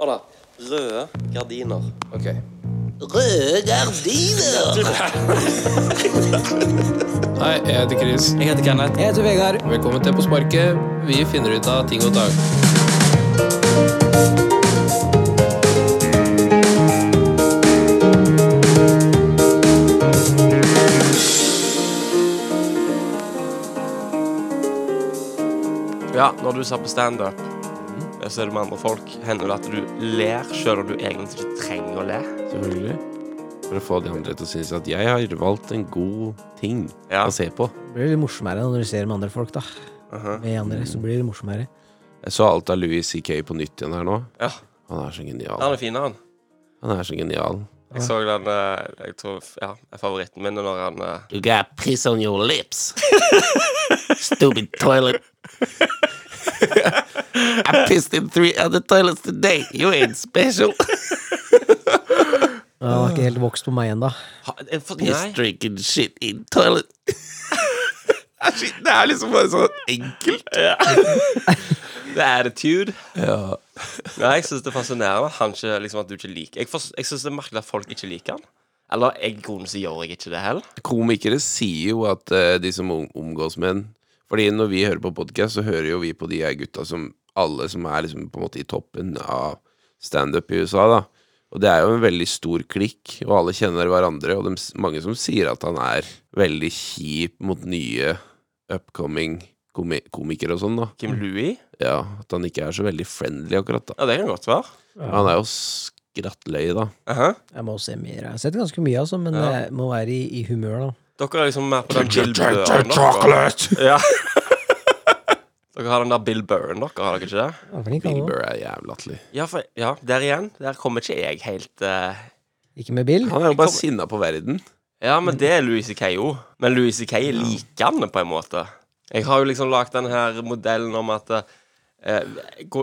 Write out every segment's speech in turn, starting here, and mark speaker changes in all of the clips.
Speaker 1: Hør da. Røde gardiner.
Speaker 2: Ok.
Speaker 1: Røde gardiner!
Speaker 2: Hei, jeg heter Chris.
Speaker 1: Jeg heter Kenneth.
Speaker 3: Jeg heter Vegard.
Speaker 2: Velkommen til På sparket. Vi finner ut av ting og tang.
Speaker 1: Ja, når du ser på standup, og så er du med andre folk, hender det at du ler selv om du egentlig ikke trenger å le?
Speaker 2: Selvfølgelig. For å få de andre til å synes at jeg har valgt en god ting
Speaker 1: Ja.
Speaker 2: å se på.
Speaker 3: Det blir litt morsommere når du ser med andre folk, da.
Speaker 1: Mhm.
Speaker 3: Med andre, så blir det morsommere.
Speaker 2: Jeg så alt av Louis C.K. på nytt igjen her nå.
Speaker 1: Ja.
Speaker 2: Han er så
Speaker 1: Han
Speaker 2: genial.
Speaker 1: er fin, han.
Speaker 2: Han er så genial.
Speaker 1: Jeg så den eh, Jeg tror Ja, er favoritten min er når han eh,
Speaker 4: You got piss on your lips. Stupid toilet. I pissed in three other toilets today. You ain't special.
Speaker 3: Ja, Han har ikke helt vokst på meg ennå.
Speaker 1: ha, jeg, for,
Speaker 4: Piss
Speaker 1: Nei.
Speaker 4: drinking shit in toilet.
Speaker 2: Det er liksom bare sånn enkelt.
Speaker 1: Det er attitude. Nei, jeg syns det er fascinerende at han ikke, liksom, at du ikke liker Jeg, forst- jeg syns det er merkelig at folk ikke liker han. Eller jeg i grunnen så gjør jeg ikke det heller.
Speaker 2: Komikere sier jo at eh, de som om- omgås med en Fordi når vi hører på podkast, så hører jo vi på de her gutta som alle som er liksom på en måte i toppen av standup i USA, da. Og det er jo en veldig stor klikk, og alle kjenner hverandre, og det er mange som sier at han er veldig kjip mot nye upcoming komi komikere og sånn, da.
Speaker 1: Kim Louie?
Speaker 2: Ja, at han ikke er så veldig friendly akkurat, da.
Speaker 1: Ja, det kan godt være.
Speaker 2: Han er jo skrattløye, da.
Speaker 1: Aha.
Speaker 3: Jeg må se mer. Jeg har sett ganske mye, altså, men
Speaker 1: Ja.
Speaker 3: jeg må være i, i humør, da.
Speaker 1: Dere er liksom mer på den Bill Burn-dere. Ja. Dere har den der Bill Burn, dere, har dere ikke det?
Speaker 3: Han er flink, han
Speaker 2: Bill
Speaker 3: også.
Speaker 2: Burr er jævlig latterlig.
Speaker 1: Ja, for, ja, der igjen. Der kommer ikke jeg helt eh,
Speaker 3: Ikke med Bill.
Speaker 2: Han er jo bare sinna på verden.
Speaker 1: Ja, men det er Louis C.K. jo. Men Louis C.K. er likende, på en måte. Jeg har jo liksom lagd den her modellen om at eh,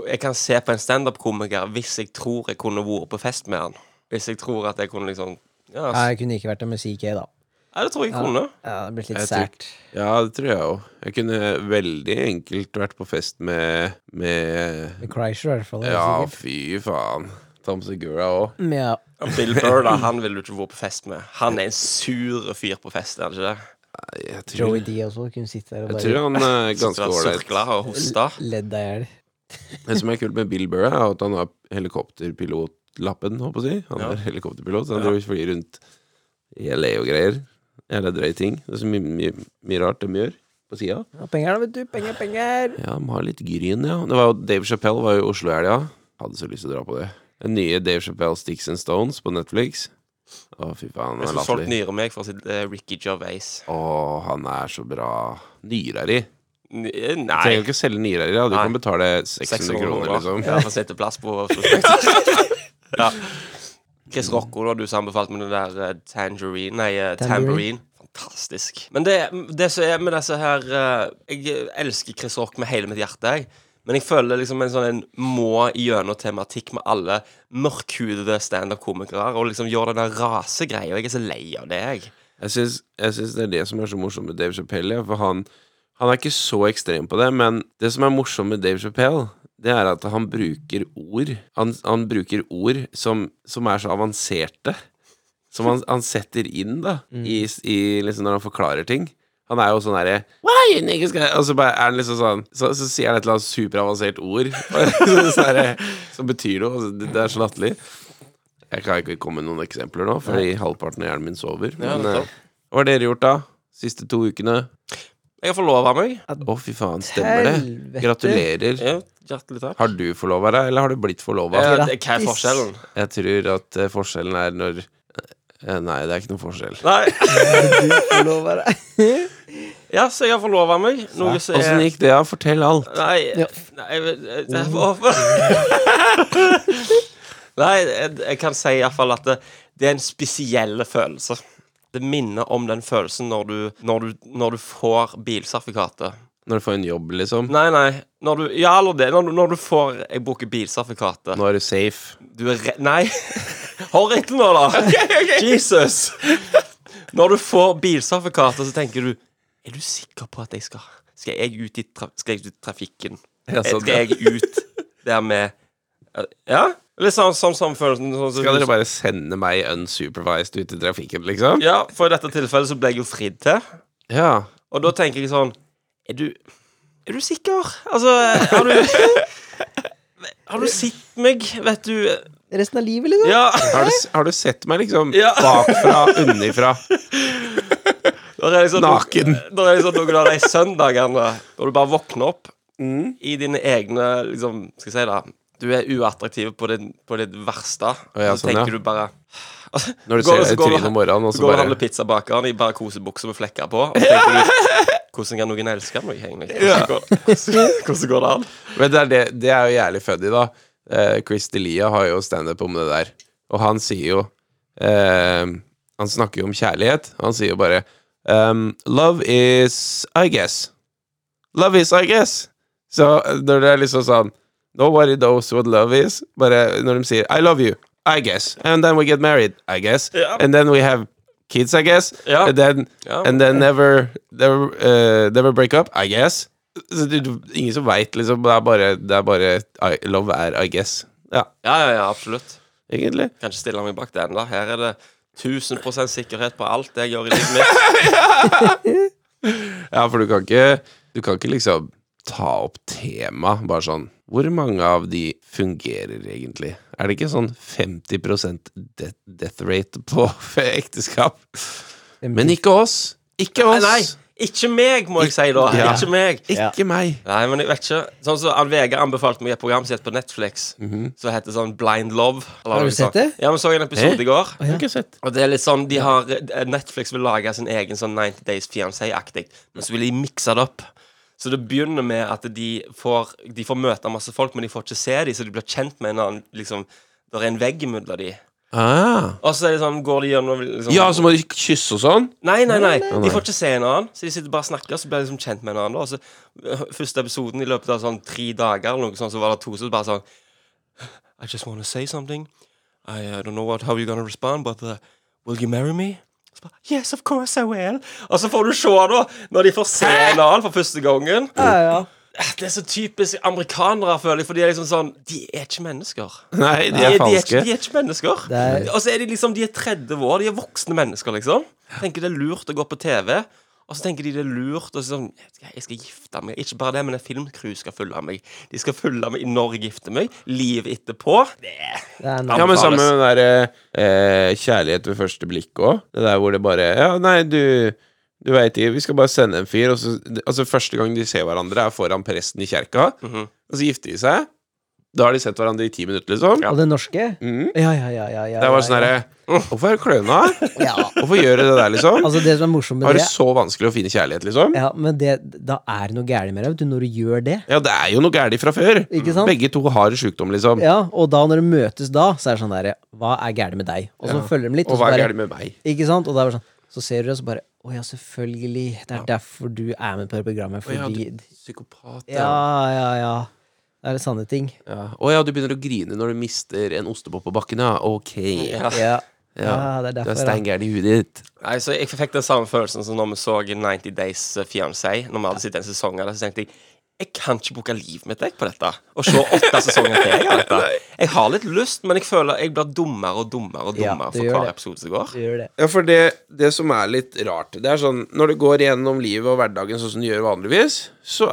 Speaker 1: jeg kan se på en standup-komiker hvis jeg tror jeg kunne vært på fest med han. Hvis jeg tror at jeg kunne liksom Ja,
Speaker 3: Nei,
Speaker 1: s-
Speaker 3: Jeg kunne ikke vært der med CK, da.
Speaker 1: ja det tror jeg jeg
Speaker 3: Ja.
Speaker 1: kunne.
Speaker 3: Ja, det er blitt litt
Speaker 2: Jeg tror-
Speaker 3: sært.
Speaker 2: Ja, det tror jeg òg. Jeg kunne veldig enkelt vært på fest med, med
Speaker 3: Med Kreischer, i hvert fall.
Speaker 2: Ja,
Speaker 3: sikkert.
Speaker 2: fy faen. Tom Segura òg.
Speaker 3: Men ja.
Speaker 1: Bill Burr, da, han ville du ikke vært på fest med. Han er en sur fyr på fest, er han ikke det?
Speaker 2: Jeg, tror-
Speaker 3: Joey D også kunne sitte der og
Speaker 2: jeg
Speaker 3: bare
Speaker 2: tror han er
Speaker 1: Ganske
Speaker 2: ganske ålreit.
Speaker 1: Surkla og hosta.
Speaker 3: ledd deg i hjel.
Speaker 2: Det som er kult med Bill Burr, er at han har helikopterpilotlappen, håper jeg å si. Han
Speaker 1: Ja.
Speaker 2: er helikopterpilot, så han driver og flyr rundt i LA og greier. Jævla drøye ting. Det er så mye, mye, mye rart de gjør på sida.
Speaker 3: Ja, penger, da, vet du. Penger, penger.
Speaker 2: Ja, de har litt gryn, ja. Det var jo, Dave Chappelle var jo i Oslo i helga. Hadde så lyst til å dra på det. Den nye Dave Chappelle Sticks and Stones på Netflix. Å, fy faen,
Speaker 1: Jeg
Speaker 2: han er
Speaker 1: skulle solgt
Speaker 2: latterlig.
Speaker 1: nyra meg for å si eh, Ricky Gervais.
Speaker 2: Å, han er så bra. Nyrer i.
Speaker 1: N eh,
Speaker 2: Trenger jo
Speaker 1: nei.
Speaker 2: ikke selge nyrer i, da. Du
Speaker 1: Nei.
Speaker 2: kan betale 600 kroner, liksom.
Speaker 1: Ja, for sitteplass på på- ja. Chris Rocco, da, du som anbefalte meg den der eh, tangerine Nei, eh, tambourine.
Speaker 3: Tambourine.
Speaker 1: Fantastisk. Men det, det som er med disse her eh, Jeg elsker Chris Rock med hele mitt hjerte, jeg. Men jeg føler liksom en sånn en må gjennom tematikk med alle mørkhudede standup-komikere. Og liksom gjør den der rasegreia. Jeg er så lei av det, jeg.
Speaker 2: Jeg syns, jeg syns det er det som er så morsomt med Dave Chappelle, ja, for han, han er ikke så ekstrem på det, men det som er morsomt med Dave Chappelle, det er at han bruker ord Han, han bruker ord som, som er så avanserte, som han, han setter inn, da,
Speaker 1: Mm.
Speaker 2: i, i, liksom når han forklarer ting. Han er jo sånn herre «Why you niggas got-» Og så bare er han liksom sånn Så, så sier han et eller annet superavansert ord og sånn herre, som betyr noe. Altså, det, det er så latterlig. Jeg kan ikke komme med noen eksempler nå, fordi halvparten av hjernen min sover.
Speaker 1: Ja,
Speaker 2: Men, eh,
Speaker 1: nettopp.
Speaker 2: hva har dere gjort, da? Siste to ukene?
Speaker 1: Jeg har forlova meg.
Speaker 2: Å, fy faen, stemmer det?
Speaker 3: Helvete.
Speaker 2: Gratulerer.
Speaker 1: Ja, Hjertelig takk.
Speaker 2: Har du forlova deg, eller har du blitt forlova?
Speaker 1: Eh,
Speaker 3: Grattis.
Speaker 1: det- Hva er forskjellen?
Speaker 2: Jeg tror at eh, forskjellen er når eh, Nei, det er ikke noen forskjell.
Speaker 1: Nei.
Speaker 3: Du lover det.
Speaker 1: Ja, så jeg har forlova meg. Noe som
Speaker 2: Åssen
Speaker 1: er
Speaker 2: gikk det, da? Fortell alt.
Speaker 1: Nei,
Speaker 3: Ja.
Speaker 1: nei jeg vet- jeg- jeg- hvorfor? Nei, jeg, jeg kan si iallfall at det, det er en spesiell følelse. Det minner om den følelsen når du, når du, når du får bilsertifikatet.
Speaker 2: Når du får en jobb, liksom.
Speaker 1: Nei, nei. Når du, ja, eller det. Når du, når du får Jeg bruker bilsertifikatet.
Speaker 2: Nå er du safe.
Speaker 1: Du er re... Nei. Hør etter nå, da. Jesus. Når du får bilsertifikatet, så tenker du Er du sikker på at jeg skal Skal jeg ut i, tra skal jeg ut i trafikken?
Speaker 2: Ja, sånn,
Speaker 1: skal jeg ut der med Ja? Litt sånn sånn som følelsen sånn, som-
Speaker 2: Skal dere bare sende meg unsupervised ut i trafikken, liksom?
Speaker 1: Ja, for i dette tilfellet så ble jeg jo fridd til.
Speaker 2: Ja.
Speaker 1: Og da tenker jeg sånn Er du, er du sikker? Altså, har du Har du sett meg? Vet du
Speaker 3: Resten av livet, liksom?
Speaker 1: Ja.
Speaker 2: Har du, har du sett meg, liksom?
Speaker 1: Ja.
Speaker 2: Bakfra, unnifra.
Speaker 1: Der er liksom,
Speaker 2: Naken.
Speaker 1: Der er liksom noen av de søndagene når du bare våkner opp
Speaker 2: Mm.
Speaker 1: i dine egne liksom, Skal jeg si det Du er uattraktiv på ditt, på ditt verste.
Speaker 2: Å ja,
Speaker 1: og så
Speaker 2: sånn, ja.
Speaker 1: tenker du bare
Speaker 2: Når du
Speaker 1: Går-
Speaker 2: ser deg
Speaker 1: så
Speaker 2: i
Speaker 1: går du-
Speaker 2: trynet om morgenen, og
Speaker 1: Så
Speaker 2: så
Speaker 1: går
Speaker 2: bare
Speaker 1: han med pizzabakeren i bare kosebukser med flekker på, og så tenker du Hvordan kan noen elske meg, egentlig? Hvordan går, det- hvordan går det an?
Speaker 2: Men det er, det, det er jo jævlig funny, da. Eh, Chris Delia har jo standup om det der. Og han sier jo eh, Han snakker jo om kjærlighet. Han sier jo bare ehm, Love is I guess. Love is I guess. Så eh, når det er liksom sånn Nobody knows what love is. Bare når de sier I love you. I guess. And then we get married. I guess.
Speaker 1: Ja.
Speaker 2: And then we have kids. I guess.
Speaker 1: Ja.
Speaker 2: And then
Speaker 1: Ja.
Speaker 2: And then never Never, eh, never break up, I guess. Så du, du, ingen som veit, liksom. Det er bare, det er bare I, Love er I guess. Ja,
Speaker 1: Ja, ja, ja, absolutt.
Speaker 2: egentlig.
Speaker 1: Kan ikke stille meg bak den. da Her er det 1000 sikkerhet på alt jeg gjør i livet mitt.
Speaker 2: Ja, for du kan ikke Du kan ikke liksom ta opp tema bare sånn Hvor mange av de fungerer egentlig? Er det ikke sånn 50 death, death rate på ekteskap? Men ikke oss. Ikke
Speaker 1: Nei,
Speaker 2: oss.
Speaker 1: nei, ikke meg, må jeg si da.
Speaker 2: Ja.
Speaker 1: Ikke meg.
Speaker 2: Ikke meg.
Speaker 1: Nei, men jeg vet ikke. Sånn som Ann Vega anbefalte meg et program som heter på Netflix, som heter sånn Blind Love. eller
Speaker 3: Mhm. Har du
Speaker 1: noe
Speaker 3: sett
Speaker 1: sånt.
Speaker 3: det?
Speaker 1: Ja, vi så en episode
Speaker 2: Hæ?
Speaker 1: i går.
Speaker 2: Jeg har ikke sett.
Speaker 1: Og det er litt sånn, de har eh, Netflix vil lage sin egen sånn 90 Days Fiancé-aktig, men så vil de mikse det opp. Så det begynner med at de får, de får møte masse folk, men de får ikke se dem, så de blir kjent med en annen liksom, Det er en vegg mellom dem.
Speaker 2: Ah.
Speaker 1: Og så er det sånn, går de gjennom liksom,
Speaker 2: Ja, så må de kysse og sånn?
Speaker 1: Nei, nei, nei.
Speaker 2: nei.
Speaker 1: De får ikke se en annen. Så de sitter bare og snakker, så blir de liksom kjent med en annen. da. Og så øh, Første episoden i løpet av sånn tre dager eller noe sånt, så var det to som bare sånn I just wanna say something. I uh, don't know what, how you're gonna respond, but uh, will you marry me? Så bare, Yes, of course I will. Og så får du se, da, når de får se en annen for første gangen.
Speaker 3: Ja, ja.
Speaker 1: Det er så typisk amerikanere, føler jeg, for de er liksom sånn De er ikke mennesker.
Speaker 2: Nei, de
Speaker 1: De
Speaker 2: er
Speaker 1: er, de, er ikke,
Speaker 2: falske.
Speaker 1: de er ikke mennesker.
Speaker 3: Det er-
Speaker 1: Og så er de liksom De er 30 år, de er voksne mennesker, liksom. Tenker det er lurt å gå på TV, og så tenker de det er lurt og så sånn, jeg skal- Jeg skal gifte meg. Ikke bare det, men en filmcrew skal følge meg. De skal følge meg når jeg gifter meg. Livet etterpå. Det er
Speaker 3: Det er
Speaker 2: Ja,
Speaker 3: noe.
Speaker 2: men sammen med den der eh, kjærlighet ved første blikk òg. Det der hvor det bare Ja, nei, du Du veit ikke, vi skal bare sende en fyr, og så Altså, første gang de ser hverandre, er foran presten i kjerka, og så gifter de seg. Da har de sett hverandre i ti minutter, liksom.
Speaker 3: Og det norske?
Speaker 2: Mhm.
Speaker 3: Ja, ja, ja. ja, ja
Speaker 2: Det er bare
Speaker 3: ja,
Speaker 2: sånn herre Hvorfor er du kløna?
Speaker 3: ja. ja.
Speaker 2: Hvorfor gjør du det der, liksom?
Speaker 3: Altså, det som er morsomt
Speaker 2: Har
Speaker 3: med
Speaker 2: du
Speaker 3: det
Speaker 2: så vanskelig å finne kjærlighet, liksom?
Speaker 3: Ja, men det, da er det noe gærent med deg, vet du, når du gjør det.
Speaker 2: Ja, det er jo noe galt fra før.
Speaker 3: Ikke sant?
Speaker 2: Begge to har sjukdom, liksom.
Speaker 3: Ja, og da når de møtes da, så er det sånn derre Hva er gærent med deg? Og så følger de litt,
Speaker 2: Og
Speaker 3: og så
Speaker 2: hva er
Speaker 3: bare
Speaker 2: galt med meg?
Speaker 3: Ikke sant? Og da er det sånn Så ser du det, og så bare Å ja, selvfølgelig. Det er derfor du er med på det programmet,
Speaker 2: Å ja, du
Speaker 3: fordi
Speaker 2: psykopat.
Speaker 3: Ja, ja, ja. Det er det sanne ting.
Speaker 2: Ja. Å ja, du begynner å grine når du mister en ostepop på bakken, ja. Ok.
Speaker 1: Ja.
Speaker 3: Ja.
Speaker 2: Ja,
Speaker 3: Ja, det er
Speaker 2: Du er
Speaker 3: derfor, ja.
Speaker 2: steingæren i huet ditt.
Speaker 1: Nei, så Jeg fikk den samme følelsen som når vi så 90 Days eh, Fiancé. Når vi hadde sett en sesong av det, så tenkte jeg jeg kan ikke bruke livet mitt jeg, på dette. Og se åtte sesonger til. Jeg, av dette. jeg har litt lyst, men jeg føler jeg blir dummere og dummere og
Speaker 3: Ja,
Speaker 1: dummere
Speaker 3: du
Speaker 1: for
Speaker 3: gjør
Speaker 1: hver
Speaker 3: det.
Speaker 1: episode som går.
Speaker 3: Du gjør det.
Speaker 2: Ja, for det, det som er litt rart, det er sånn Når du går gjennom livet og hverdagen sånn som du gjør vanligvis, så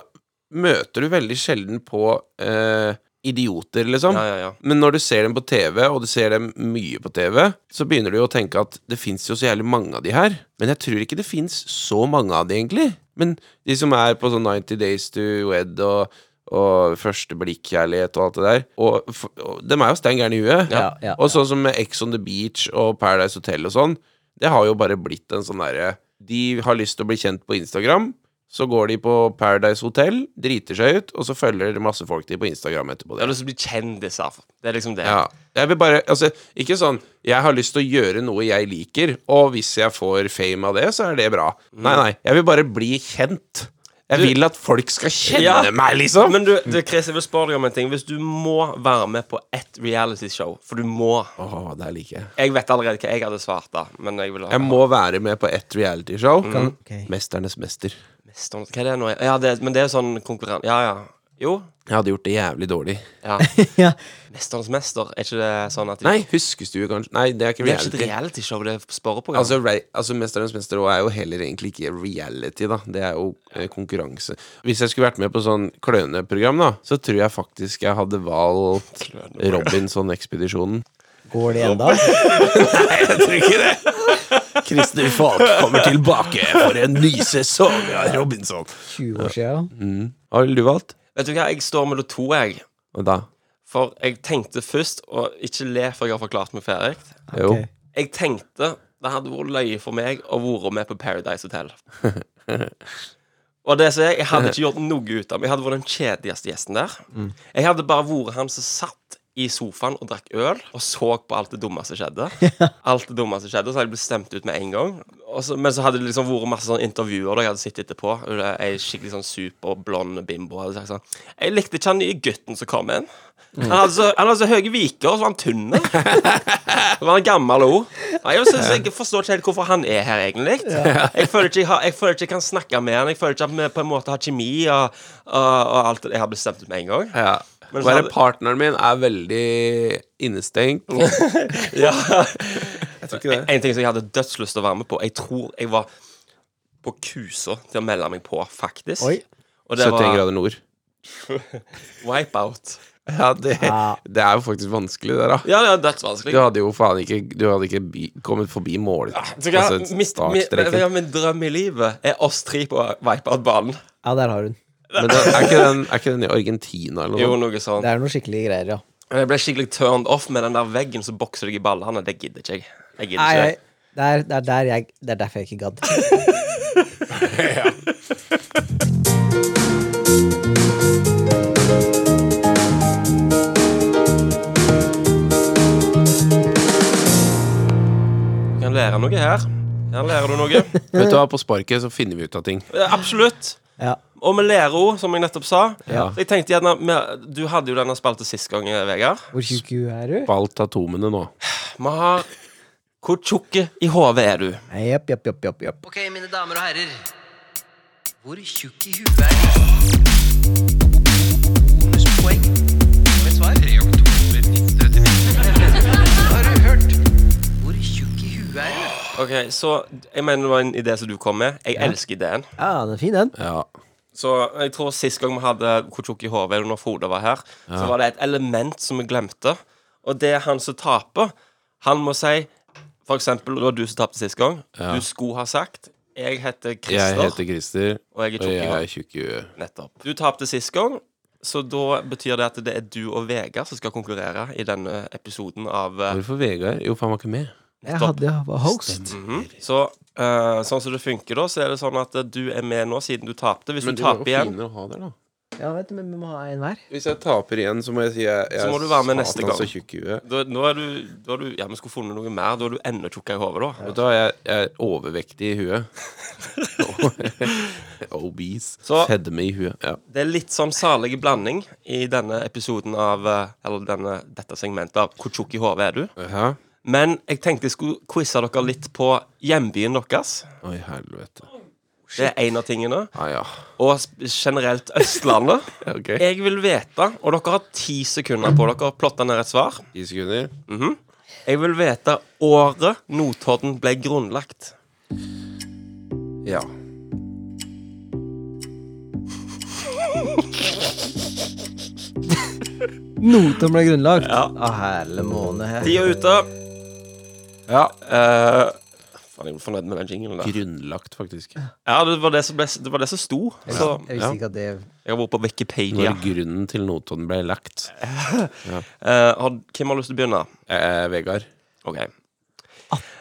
Speaker 2: møter du veldig sjelden på eh, idioter, liksom.
Speaker 1: Ja, ja, ja.
Speaker 2: Men når du ser dem på TV, og du ser dem mye på TV, så begynner du jo å tenke at det fins jo så jævlig mange av de her. Men jeg tror ikke det fins så mange av de, egentlig. Men de som er på sånn 90 Days to Wed og, og Første blikk-kjærlighet og alt det der, og, f- og dem er jo stein gærne i huet.
Speaker 3: Ja, ja.
Speaker 2: Og sånn som med Ex on the Beach og Paradise Hotel og sånn, det har jo bare blitt en sånn derre De har lyst til å bli kjent på Instagram, så går de på Paradise Hotel, driter seg ut, og så følger masse folk de på Instagram etterpå.
Speaker 1: Jeg har lyst til å bli kjendiser. Det er liksom det.
Speaker 2: Ja. Jeg vil bare, altså, ikke sånn Jeg har lyst til å gjøre noe jeg liker, og hvis jeg får fame av det, så er det bra.
Speaker 1: Mm.
Speaker 2: Nei, nei. Jeg vil bare bli kjent. Jeg vil at folk skal kjenne
Speaker 1: Ja.
Speaker 2: meg, liksom.
Speaker 1: Men du, du, Chris, jeg vil spørre deg om en ting. Hvis du må være med på ett realityshow, for du må
Speaker 2: Åh, det her liker jeg.
Speaker 1: Jeg vet allerede hva jeg hadde svart, da, men jeg vil ha
Speaker 2: Jeg må være med på ett realityshow.
Speaker 1: Mm.
Speaker 3: Ok.
Speaker 2: Mesternes mester.
Speaker 1: Mest om- Hva er det nå? Ja, det, men det er jo sånn konkurranse Ja, ja. Jo.
Speaker 2: Jeg hadde gjort det jævlig dårlig.
Speaker 1: Ja.
Speaker 3: Ja,
Speaker 1: Mesternes mester, er ikke det sånn at de-
Speaker 2: Nei, huskestue, kanskje. Nei, det er ikke
Speaker 1: Det er ikke
Speaker 2: reality.
Speaker 1: et realityshow, det er spørreprogram.
Speaker 2: Altså, re altså Mesternes mester også er jo heller egentlig ikke reality, da. Det er jo eh, konkurranse. Hvis jeg skulle vært med på sånn kløneprogram, da, så tror jeg faktisk jeg hadde valgt Robinson-ekspedisjonen.
Speaker 3: Går det ennå?
Speaker 2: Jeg tror ikke det! Christer Falk kommer tilbake for en ny sesong av Robinson.
Speaker 3: 20 år siden
Speaker 2: Hva ville du valgt?
Speaker 1: Vet du hva, jeg står mellom to, jeg.
Speaker 2: Og da?
Speaker 1: For jeg tenkte først Og ikke le før jeg har forklart meg ferdig.
Speaker 2: Jo.
Speaker 3: Ok.
Speaker 1: Jeg tenkte det hadde vært løye for meg å være med på Paradise Hotel. Og det som jeg, jeg hadde ikke gjort noe ut av meg. Jeg hadde vært den kjedeligste gjesten der. Jeg hadde bare vært han som satt i sofaen og drakk øl og så på alt det dumme som skjedde. Alt det dumme som skjedde, så hadde jeg blitt stemt ut med en gang. Og så, men så hadde det liksom vært masse sånne intervjuer da jeg hadde sett etterpå. Og det- Ei skikkelig sånn superblond bimbo hadde sagt sånn Jeg likte ikke han nye gutten som kom inn. Han hadde så, han hadde så høye viker, og så var han tynn. Det var en gammel ord. Nei, Jeg, synes, jeg forstår ikke helt hvorfor han er her, egentlig. Jeg føler ikke jeg, har, jeg, føler ikke jeg kan snakke med han. Jeg føler ikke at vi på en måte har kjemi og, og, og alt det jeg har bestemt ut med en gang.
Speaker 2: Ja.
Speaker 1: Men så
Speaker 2: Bare
Speaker 1: hadde-
Speaker 2: partneren min er veldig innestengt. Jeg tror ikke det.
Speaker 1: En ting som jeg hadde dødslyst til å være med på Jeg tror jeg var på kusa til å melde meg på, faktisk.
Speaker 3: Oi.
Speaker 1: Og det
Speaker 2: 71
Speaker 1: var
Speaker 2: grader nord.
Speaker 1: wipeout.
Speaker 2: Ja, det,
Speaker 3: Ja.
Speaker 2: det er jo faktisk vanskelig, det, da.
Speaker 1: Ja, det er
Speaker 2: Du
Speaker 1: dødsvanskelig.
Speaker 2: hadde jo faen ikke Du hadde ikke bi, kommet forbi mål
Speaker 1: Så jeg,
Speaker 2: Altså
Speaker 1: mist, min,
Speaker 2: startstreken
Speaker 1: min drøm i livet er oss tre på wipeout-banen.
Speaker 3: Ja, der har hun.
Speaker 2: Men den, er, ikke den, er ikke den i Argentina eller
Speaker 1: Jo,
Speaker 2: noe?
Speaker 1: noe sånt.
Speaker 3: Det er noen skikkelige greier, ja.
Speaker 1: Men Jeg ble skikkelig turned off med den der veggen som bokser deg i ballene. Det gidder ikke jeg. Jeg gidder
Speaker 3: Nei,
Speaker 1: ikke.
Speaker 3: jeg, det, er, det, er der jeg, det er derfor jeg ikke gadd.
Speaker 1: Jeg kan lære noe her. Her lærer du noe.
Speaker 2: Vet du hva, på sparket så finner vi ut av ting
Speaker 1: Eh, Absolutt.
Speaker 3: Ja.
Speaker 1: Og vi lærer òg, som jeg nettopp sa.
Speaker 2: Ja.
Speaker 1: Så jeg tenkte gjerne vi- Du hadde jo denne spalten sist gang, eh, Vegard.
Speaker 3: Hvor tjukk hun er, du?
Speaker 2: Spalt atomene nå
Speaker 1: Vi har Hvor tjukke i hodet er du?
Speaker 3: Nei, Jepp, jepp, jepp, jepp, jepp.
Speaker 5: Ok, mine damer og herrer. Hvor tjukk i huet er de? Bonuspoeng. Og et svar. 3 oktober 1939. Har du hørt? Hvor tjukk i huet er du?
Speaker 1: Ok, så Jeg mener det var en idé som du kom med. Jeg elsker ideen.
Speaker 3: Ja, den er fin, den.
Speaker 2: Ja
Speaker 1: Så jeg tror Sist gang vi hadde Hvor tjukk i hodet er du når Frode var her, så var det et element som vi glemte. Og det er han som taper. Han må si For eksempel, det var du som tapte sist gang. Du skulle ha sagt Jeg heter Christer.
Speaker 2: Jeg heter Christer
Speaker 1: Og jeg er
Speaker 2: Og
Speaker 1: tjukk i
Speaker 2: jeg
Speaker 1: hodet.
Speaker 2: er tjukk i huet
Speaker 1: Nettopp. Du tapte sist gang, så da betyr det at det er du og Vegard som skal konkurrere i denne episoden av eh,
Speaker 2: Hvorfor Vegard? Jo, for han var ikke med
Speaker 3: Jeg
Speaker 1: Stopp.
Speaker 3: hadde jo host.
Speaker 1: mhm. Så eh, sånn som det funker, da, så er det sånn at eh, du er med nå siden du tapte. Hvis
Speaker 2: Men
Speaker 1: du
Speaker 2: det var
Speaker 1: taper
Speaker 2: jo
Speaker 1: igjen
Speaker 2: finere å ha der da
Speaker 3: Ja, vet du, men vi må ha en hver.
Speaker 2: Hvis jeg taper igjen så må jeg si jeg, jeg
Speaker 1: Så må du være med
Speaker 2: er
Speaker 1: neste
Speaker 2: satan
Speaker 1: gang.
Speaker 2: så tjukk i huet
Speaker 1: da, Nå er du, da er du Ja, vi skulle funnet noe mer. Da er du enda tjukkere i hodet, da.
Speaker 2: Vet du hva, jeg, jeg er overvektig i huet Obese
Speaker 1: Så-
Speaker 2: Fedme i huet Ja
Speaker 1: Det er litt sånn salig blanding i denne episoden av eh, Eller denne, dette segmentet av Hvor tjukk i hodet er du?
Speaker 2: Hæ?
Speaker 1: Men jeg tenkte jeg skulle quize dere litt på hjembyen deres.
Speaker 2: Oi, helvete
Speaker 1: Det er en av tingene.
Speaker 2: Ah, ja
Speaker 1: Og sp- generelt Østlandet.
Speaker 2: Ok
Speaker 1: Jeg vil vite, og dere har ti sekunder på dere å plotte ned et svar.
Speaker 2: 10 sekunder
Speaker 1: Jeg vil vite året Notodden ble grunnlagt.
Speaker 2: Ja.
Speaker 3: Noten ble grunnlagt.
Speaker 1: Ja.
Speaker 3: Å, herle måne her.
Speaker 1: Tida er ute.
Speaker 2: ja.
Speaker 1: Eh, faen, jeg er fornøyd med den jinglen der.
Speaker 2: Grunnlagt, faktisk.
Speaker 1: Ja, det var det som, ble, det var det som sto. Så
Speaker 3: Jeg visste ikke at det
Speaker 1: jeg har vært på
Speaker 2: Når
Speaker 1: Wikipedia.
Speaker 2: grunnen til Notodden ble lagt.
Speaker 1: Eh, har, hvem har lyst til å begynne?
Speaker 2: Eh, Vegard.
Speaker 1: Ok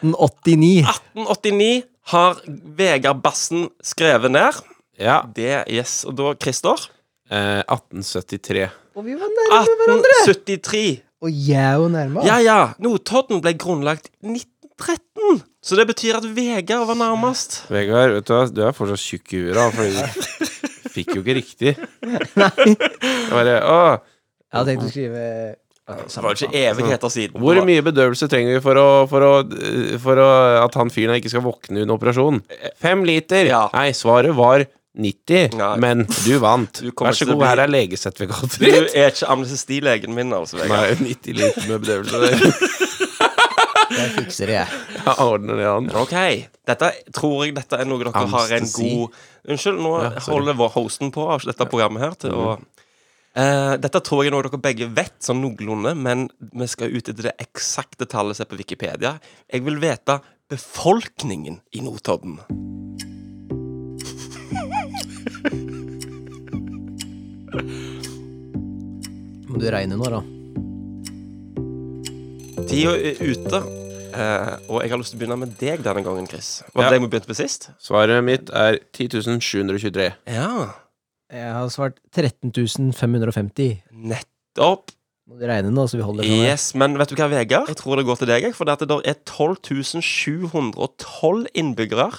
Speaker 3: 1889.
Speaker 1: 1889 har Vegard Bassen skrevet ned.
Speaker 2: Ja.
Speaker 1: Det, yes, Og da Christer.
Speaker 2: Eh, 1873.
Speaker 3: Og vi var nærme hverandre.
Speaker 1: 1873.
Speaker 3: Og jeg er jo nærme.
Speaker 1: Ja, ja. Notodden ble grunnlagt 1913. Så det betyr at Vegard var nærmest.
Speaker 2: Vegard, vet du hva, du er fortsatt tjukk i huet, da, fordi du fikk jo ikke riktig. Jeg bare, åh,
Speaker 3: Jeg hadde tenkt å skrive
Speaker 1: Så var det ikke evigheter siden.
Speaker 2: hvor mye bedøvelse trenger vi for, å, eh, for, å, for å, at han fyren her ikke skal våkne under operasjon? Fem liter!
Speaker 1: Ja.
Speaker 2: Nei, svaret var 90,
Speaker 1: Nei.
Speaker 2: men du vant.
Speaker 1: Du kommer
Speaker 2: Vær så
Speaker 1: til å
Speaker 2: god,
Speaker 1: bli-
Speaker 2: her er legesertifikatet
Speaker 1: Du
Speaker 2: ditt.
Speaker 1: er ikke amnestilegen min, altså, Vegard.
Speaker 2: Nei, 90 liter med bedøvelse.
Speaker 3: Jeg fikser det, jeg.
Speaker 2: Jeg ordner det an.
Speaker 1: Ok, dette tror jeg dette er noe dere har en
Speaker 2: Amnesti.
Speaker 1: god Unnskyld, nå
Speaker 2: sorry. Mm.
Speaker 1: holder vår hosten på av dette programmet her til å Eh, dette tror jeg er noe dere begge vet, sånn noenlunde, men vi skal ut etter det eksakte tallet som er på Wikipedia. Jeg vil vite befolkningen i Notodden.
Speaker 3: Må du regne nå, da?
Speaker 1: Tida er ute, eh, og jeg har lyst til å begynne med deg denne gangen, Chris. Var
Speaker 2: Ja.
Speaker 1: det det vi begynte med sist?
Speaker 2: Svaret mitt er 10.723.
Speaker 1: Ja.
Speaker 3: Jeg har svart 13.550
Speaker 1: Nettopp.
Speaker 3: Må du regne nå, så vi holder det sånn her.
Speaker 1: Yes, men vet du hva, Vegard? Jeg tror det går til deg, jeg, for det at det er 12.712 innbyggere.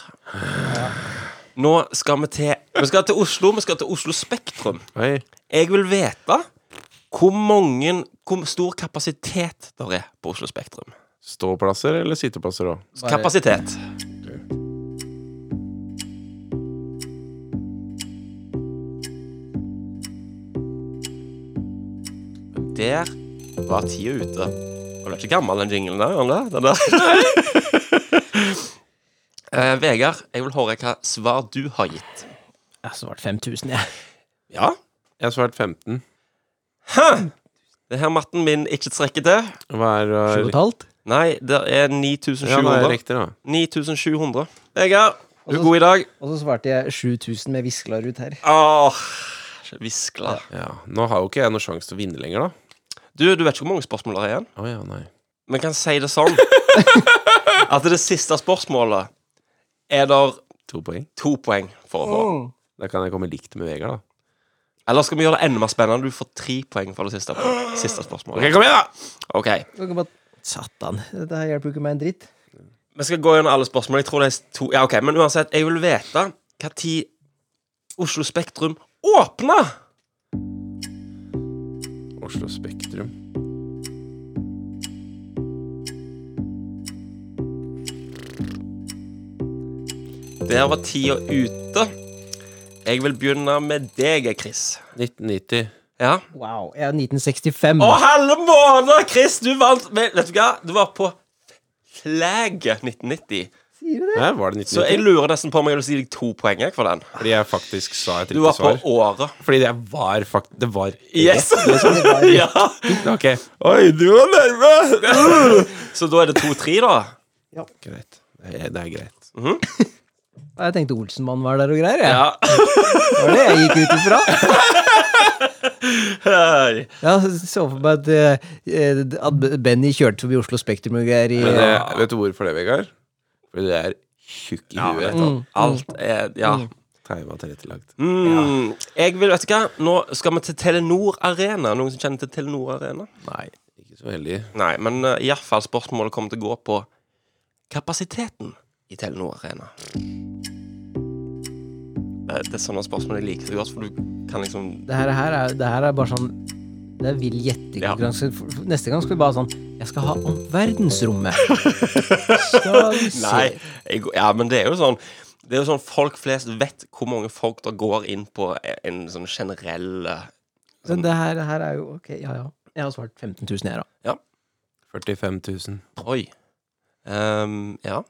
Speaker 1: Nå skal vi til Vi skal til Oslo. Vi skal til Oslo Spektrum.
Speaker 2: Oi.
Speaker 1: Jeg vil vite hvor mange Hvor stor kapasitet der er på Oslo Spektrum.
Speaker 2: Ståplasser eller sitteplasser òg?
Speaker 3: Bare-
Speaker 1: Kapasitet. Der var tida ute. Og du er ikke gammel, den jinglen der? Gjør den det? den der? Eh, Vegard, jeg vil høre hva svar du har gitt.
Speaker 3: Jeg har svart 5000, jeg.
Speaker 1: Ja?
Speaker 2: Jeg har svart 15.
Speaker 1: Det her matten min ikke strekker til.
Speaker 2: Hva er
Speaker 3: Sju
Speaker 2: uh,
Speaker 3: og et halvt.
Speaker 1: Nei, det er
Speaker 2: Ja, det er
Speaker 1: 9700.
Speaker 2: riktig, da.
Speaker 1: 9700. Vegard, du
Speaker 3: Altså-
Speaker 1: er god i dag.
Speaker 3: Og så svarte jeg 7000 med visklar ut her.
Speaker 1: Åh, viskla.
Speaker 2: Ja. Nå har jo ikke jeg noen sjanse til å vinne lenger, da.
Speaker 1: Du, du vet ikke hvor mange spørsmål det er igjen?
Speaker 2: Å ja, nei.
Speaker 1: Vi kan si det sånn at det siste spørsmålet er der
Speaker 2: To poeng.
Speaker 1: to poeng for å få.
Speaker 2: Da kan jeg komme likt med Vegard, da.
Speaker 1: Eller skal vi gjøre det enda mer spennende? Du får tre poeng for det siste, siste
Speaker 2: Ok,
Speaker 1: spørsmålet.
Speaker 2: kom igjen, da!
Speaker 1: Ok,
Speaker 3: Satan, dette her hjelper jo ikke meg en dritt.
Speaker 1: Vi skal gå gjennom alle spørsmål. Jeg tror det er to Ja, ok, Men uansett, jeg vil vite hva tid Oslo Spektrum åpna!
Speaker 2: Oslo Spektrum.
Speaker 1: Der var tida ute. Jeg vil begynne med deg, Chris.
Speaker 2: 1990.
Speaker 1: Ja?
Speaker 3: Wow. Jeg er 1965.
Speaker 1: Å, halve måned, Chris! Du vant Men, Vet du hva? Du var på flagget 1990.
Speaker 3: Sier du det?
Speaker 2: Nei, var det
Speaker 1: Så jeg
Speaker 2: 1990?
Speaker 1: lurer nesten på om jeg vil si deg to poeng jeg, for den.
Speaker 2: Fordi jeg faktisk sa et
Speaker 1: Du
Speaker 2: riktig
Speaker 1: var på
Speaker 2: svar.
Speaker 1: året.
Speaker 2: Fordi jeg var fakt... Det var
Speaker 1: Yes! ja.
Speaker 2: Ok. Oi, du var nærme!
Speaker 1: Så da er det 2-3, da.
Speaker 2: greit. Det er, det er greit.
Speaker 3: Jeg tenkte Olsenmann var der og greier. Jeg.
Speaker 1: Ja.
Speaker 3: Det var det jeg gikk ut ifra.
Speaker 1: Hei.
Speaker 3: Jeg så for meg at, eh, at Benny kjørte forbi Oslo Spektrum og greier i
Speaker 2: Men det, vet du hvorfor det, Vegard? Fordi det er tjukk i huet.
Speaker 1: Mm. Alt er Ja.
Speaker 2: Teima tilrettelagt.
Speaker 1: Mm. Jeg vil, vet du hva, nå skal vi til Telenor Arena. Noen som kjenner til Telenor Arena?
Speaker 2: Nei. Ikke så heldig.
Speaker 1: Nei, men uh, iallfall spørsmålet kommer til å gå på kapasiteten i Telenor Arena. Eh, Det, det er sånne spørsmål jeg liker så godt, for du kan liksom
Speaker 3: Det her, her er, det her er bare sånn Det er vill gjettekonkurranse. For- for Neste gang skal vi bare sånn Jeg skal ha om verdensrommet. Skal vi se.
Speaker 1: Nei, jeg, ja, men det er jo sånn Det er jo sånn folk flest vet hvor mange folk der går inn på en sånn generell eh,
Speaker 3: Men det her, her er jo Ok, ja ja. Jeg har svart 15 000, jeg, da.
Speaker 2: 45 000.
Speaker 1: Oi. Ehm, ja.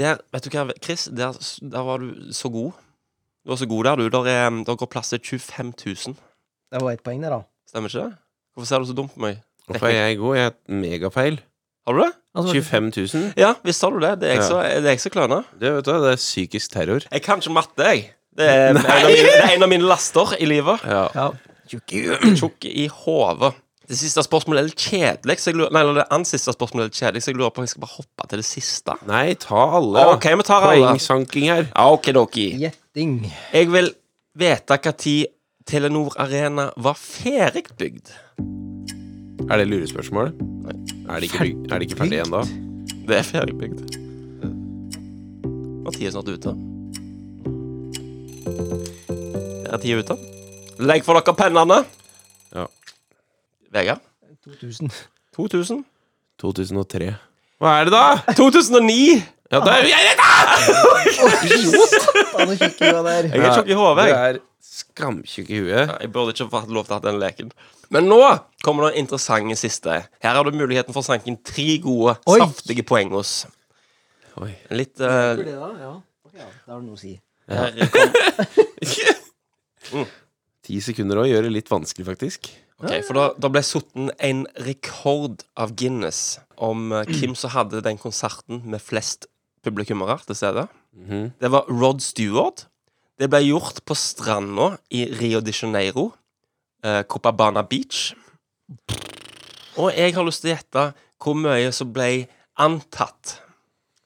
Speaker 1: Der, vet du hva, Chris, der, s- der var du så god. Du var så god der, du. Der, er, der går plass til 25 000.
Speaker 3: Det var ett poeng der, da.
Speaker 1: Stemmer ikke det? Hvorfor ser du så dumt på meg?
Speaker 2: Hvorfor er jeg god? Jeg er megafeil.
Speaker 1: Har du det?
Speaker 3: Han svarte
Speaker 2: 25 000.
Speaker 1: Ja, visst har du det. Det er jeg
Speaker 2: Ja.
Speaker 1: så- det er jeg som kløner.
Speaker 2: Det, vet du, det er psykisk terror.
Speaker 1: Jeg kan ikke matte, jeg. Det er, en av mine, det er en av mine laster i livet.
Speaker 2: Ja.
Speaker 3: Ja. Tjukk i huet.
Speaker 1: tjukk i hodet. Det siste spørsmålet er litt kjedelig, så jeg lurer, nei, eller det andre siste spørsmålet er litt kjedelig, så jeg lurer på om jeg skal bare hoppe til det siste.
Speaker 2: Nei, ta alle. da.
Speaker 1: Ok, vi tar alle.
Speaker 2: Poengsanking her.
Speaker 1: Ja, ok, doki.
Speaker 3: Gjetting.
Speaker 1: Jeg vil vite hva tid Telenor Arena var ferdigbygd.
Speaker 2: Er det lurespørsmål? Er det ikke, byg- er det ikke ferdig ennå?
Speaker 1: Det er ferdigbygd. Og tida er snart ute. Der er tida ute. Legg for dere pennene.
Speaker 2: Ja.
Speaker 1: Vegard?
Speaker 3: 2000.
Speaker 1: 2000?
Speaker 2: 2003. Hva er det, da?
Speaker 1: 2009!
Speaker 2: Ja, da er vi jeg er redd!
Speaker 3: Han er tjukk i huet der.
Speaker 1: Jeg er tjukk i hodet,
Speaker 2: Du
Speaker 1: jeg.
Speaker 2: er skamtjukk i huet.
Speaker 1: Jeg burde ikke fått lov til å ha den leken. Men nå kommer den interessante siste. Her har du muligheten for å sanke inn tre gode,
Speaker 3: Oi.
Speaker 1: saftige poeng hos.
Speaker 2: Oi.
Speaker 1: Litt eh,
Speaker 3: Det da, ja. Ja, da har du noe å si.
Speaker 1: her kom-
Speaker 2: Ti sekunder å gjøre litt vanskelig, faktisk.
Speaker 1: Ok, For da, da ble sotten en rekord av Guinness om eh, hvem som hadde den konserten med flest publikummere til stede. Det var Rod Stewart. Det ble gjort på stranda i Rio de Janeiro. Eh, Copacabana Beach. Og jeg har lyst til å gjette hvor mye som ble antatt,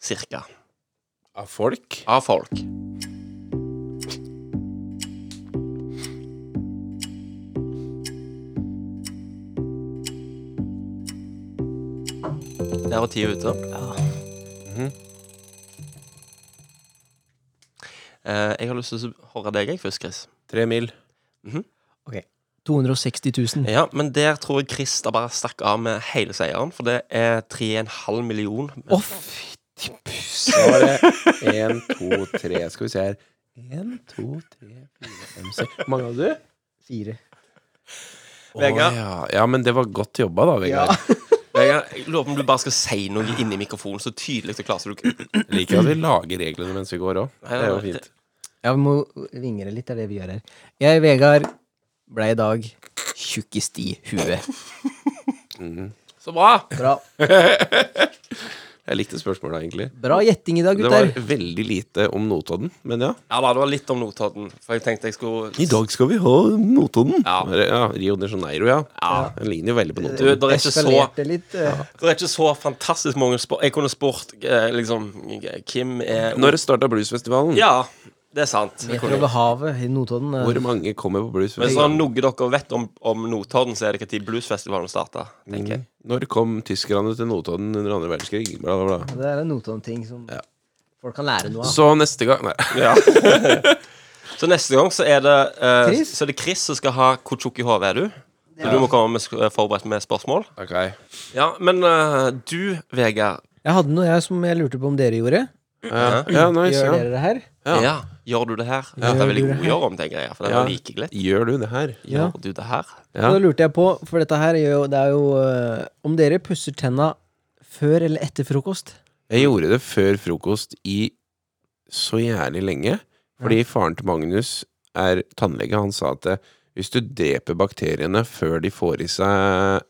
Speaker 1: cirka,
Speaker 2: Av folk?
Speaker 1: av folk. Der var tida ute. Mhm. Eh, jeg har lyst til å høre deg jeg, først, Chris.
Speaker 2: Tre mil.
Speaker 3: 260 000.
Speaker 1: Ja, men der tror jeg Chris da bare stakk av med hele seieren, for det er 3,5 million.
Speaker 3: Å, fytti pus.
Speaker 2: Da var det én, to, tre. Skal vi se her. Én, to, tre, fire, fem, seks Hvor mange hadde du?
Speaker 3: Fire.
Speaker 1: Vegard.
Speaker 2: Å, ja. ja, men det var godt jobba, da, Vegard.
Speaker 1: Vegard, jeg lurer på om du bare skal si noe inni mikrofonen så tydelig og klart som du kan.
Speaker 2: Liker at vi lager reglene mens vi går òg. Det er jo fint.
Speaker 3: Ja, vi må vingre litt, det er det vi gjør her. Jeg, Vegard, ble i dag tjukkest i huet.
Speaker 1: Så bra!
Speaker 3: Bra,
Speaker 2: Jeg likte spørsmålet, egentlig.
Speaker 3: bra gjetting i dag,
Speaker 2: Det
Speaker 3: gutter.
Speaker 2: var veldig lite om Notodden, men ja.
Speaker 1: Ja da, det var litt om Notodden, for jeg tenkte jeg skulle
Speaker 2: I dag skal vi ha Notodden. Ja.
Speaker 1: Ja.
Speaker 2: Rio de Janeiro, ja. Den ligner jo veldig på
Speaker 1: Du,
Speaker 2: Notodden.
Speaker 1: det er ikke så
Speaker 3: Eskalerte litt. eh,
Speaker 1: Det er ikke så fantastisk mange spor... Jeg kunne spurt eh, liksom Kim er
Speaker 2: Når starta bluesfestivalen?
Speaker 1: Ja, det er sant. Jeg
Speaker 3: Rett
Speaker 1: kunne-
Speaker 3: over havet i Notodden. eh.
Speaker 2: Hvor mange kommer på
Speaker 1: Men sånn
Speaker 2: bluesfestivalen?
Speaker 1: noe dere vet om, om Notodden, så er det ikke tid bluesfestivalen starta,
Speaker 3: Mm.
Speaker 1: tenker jeg.
Speaker 2: Når kom tyskerne til Notodden under andre verdenskrig? Bla, bla, bla.
Speaker 3: Det er en Notodden-ting som folk kan lære noe av.
Speaker 2: Så neste gang Nei.
Speaker 1: Så neste gang så er det eh,
Speaker 3: Chris?
Speaker 1: Så er det Chris som skal ha Hvor tjukk i hodet er du? Så du må komme med, sk- forberedt med spørsmål.
Speaker 2: Ok.
Speaker 1: Ja, men eh, du, Vegard,
Speaker 3: Jeg hadde noe jeg som jeg lurte på om dere gjorde.
Speaker 2: Ja, ja, nice,
Speaker 3: Gjør
Speaker 2: ja.
Speaker 3: dere det her?
Speaker 1: ja.
Speaker 2: Ja.
Speaker 1: gjør du det her? Dette er
Speaker 3: Gjør
Speaker 1: veldig
Speaker 3: du det
Speaker 1: god å
Speaker 3: her?
Speaker 1: gjøre om, tenker jeg. For den
Speaker 2: Ja.
Speaker 1: er like lett.
Speaker 2: Gjør du det her?
Speaker 3: Ja.
Speaker 1: Gjør du det her?
Speaker 2: Ja.
Speaker 3: Og da lurte jeg på, for dette her er jo, det er jo eh, Om dere pusser tenna før eller etter frokost?
Speaker 2: Jeg gjorde det før frokost i så jævlig lenge. Fordi faren til Magnus er tannlege. Han sa at eh, hvis du dreper bakteriene før de får i seg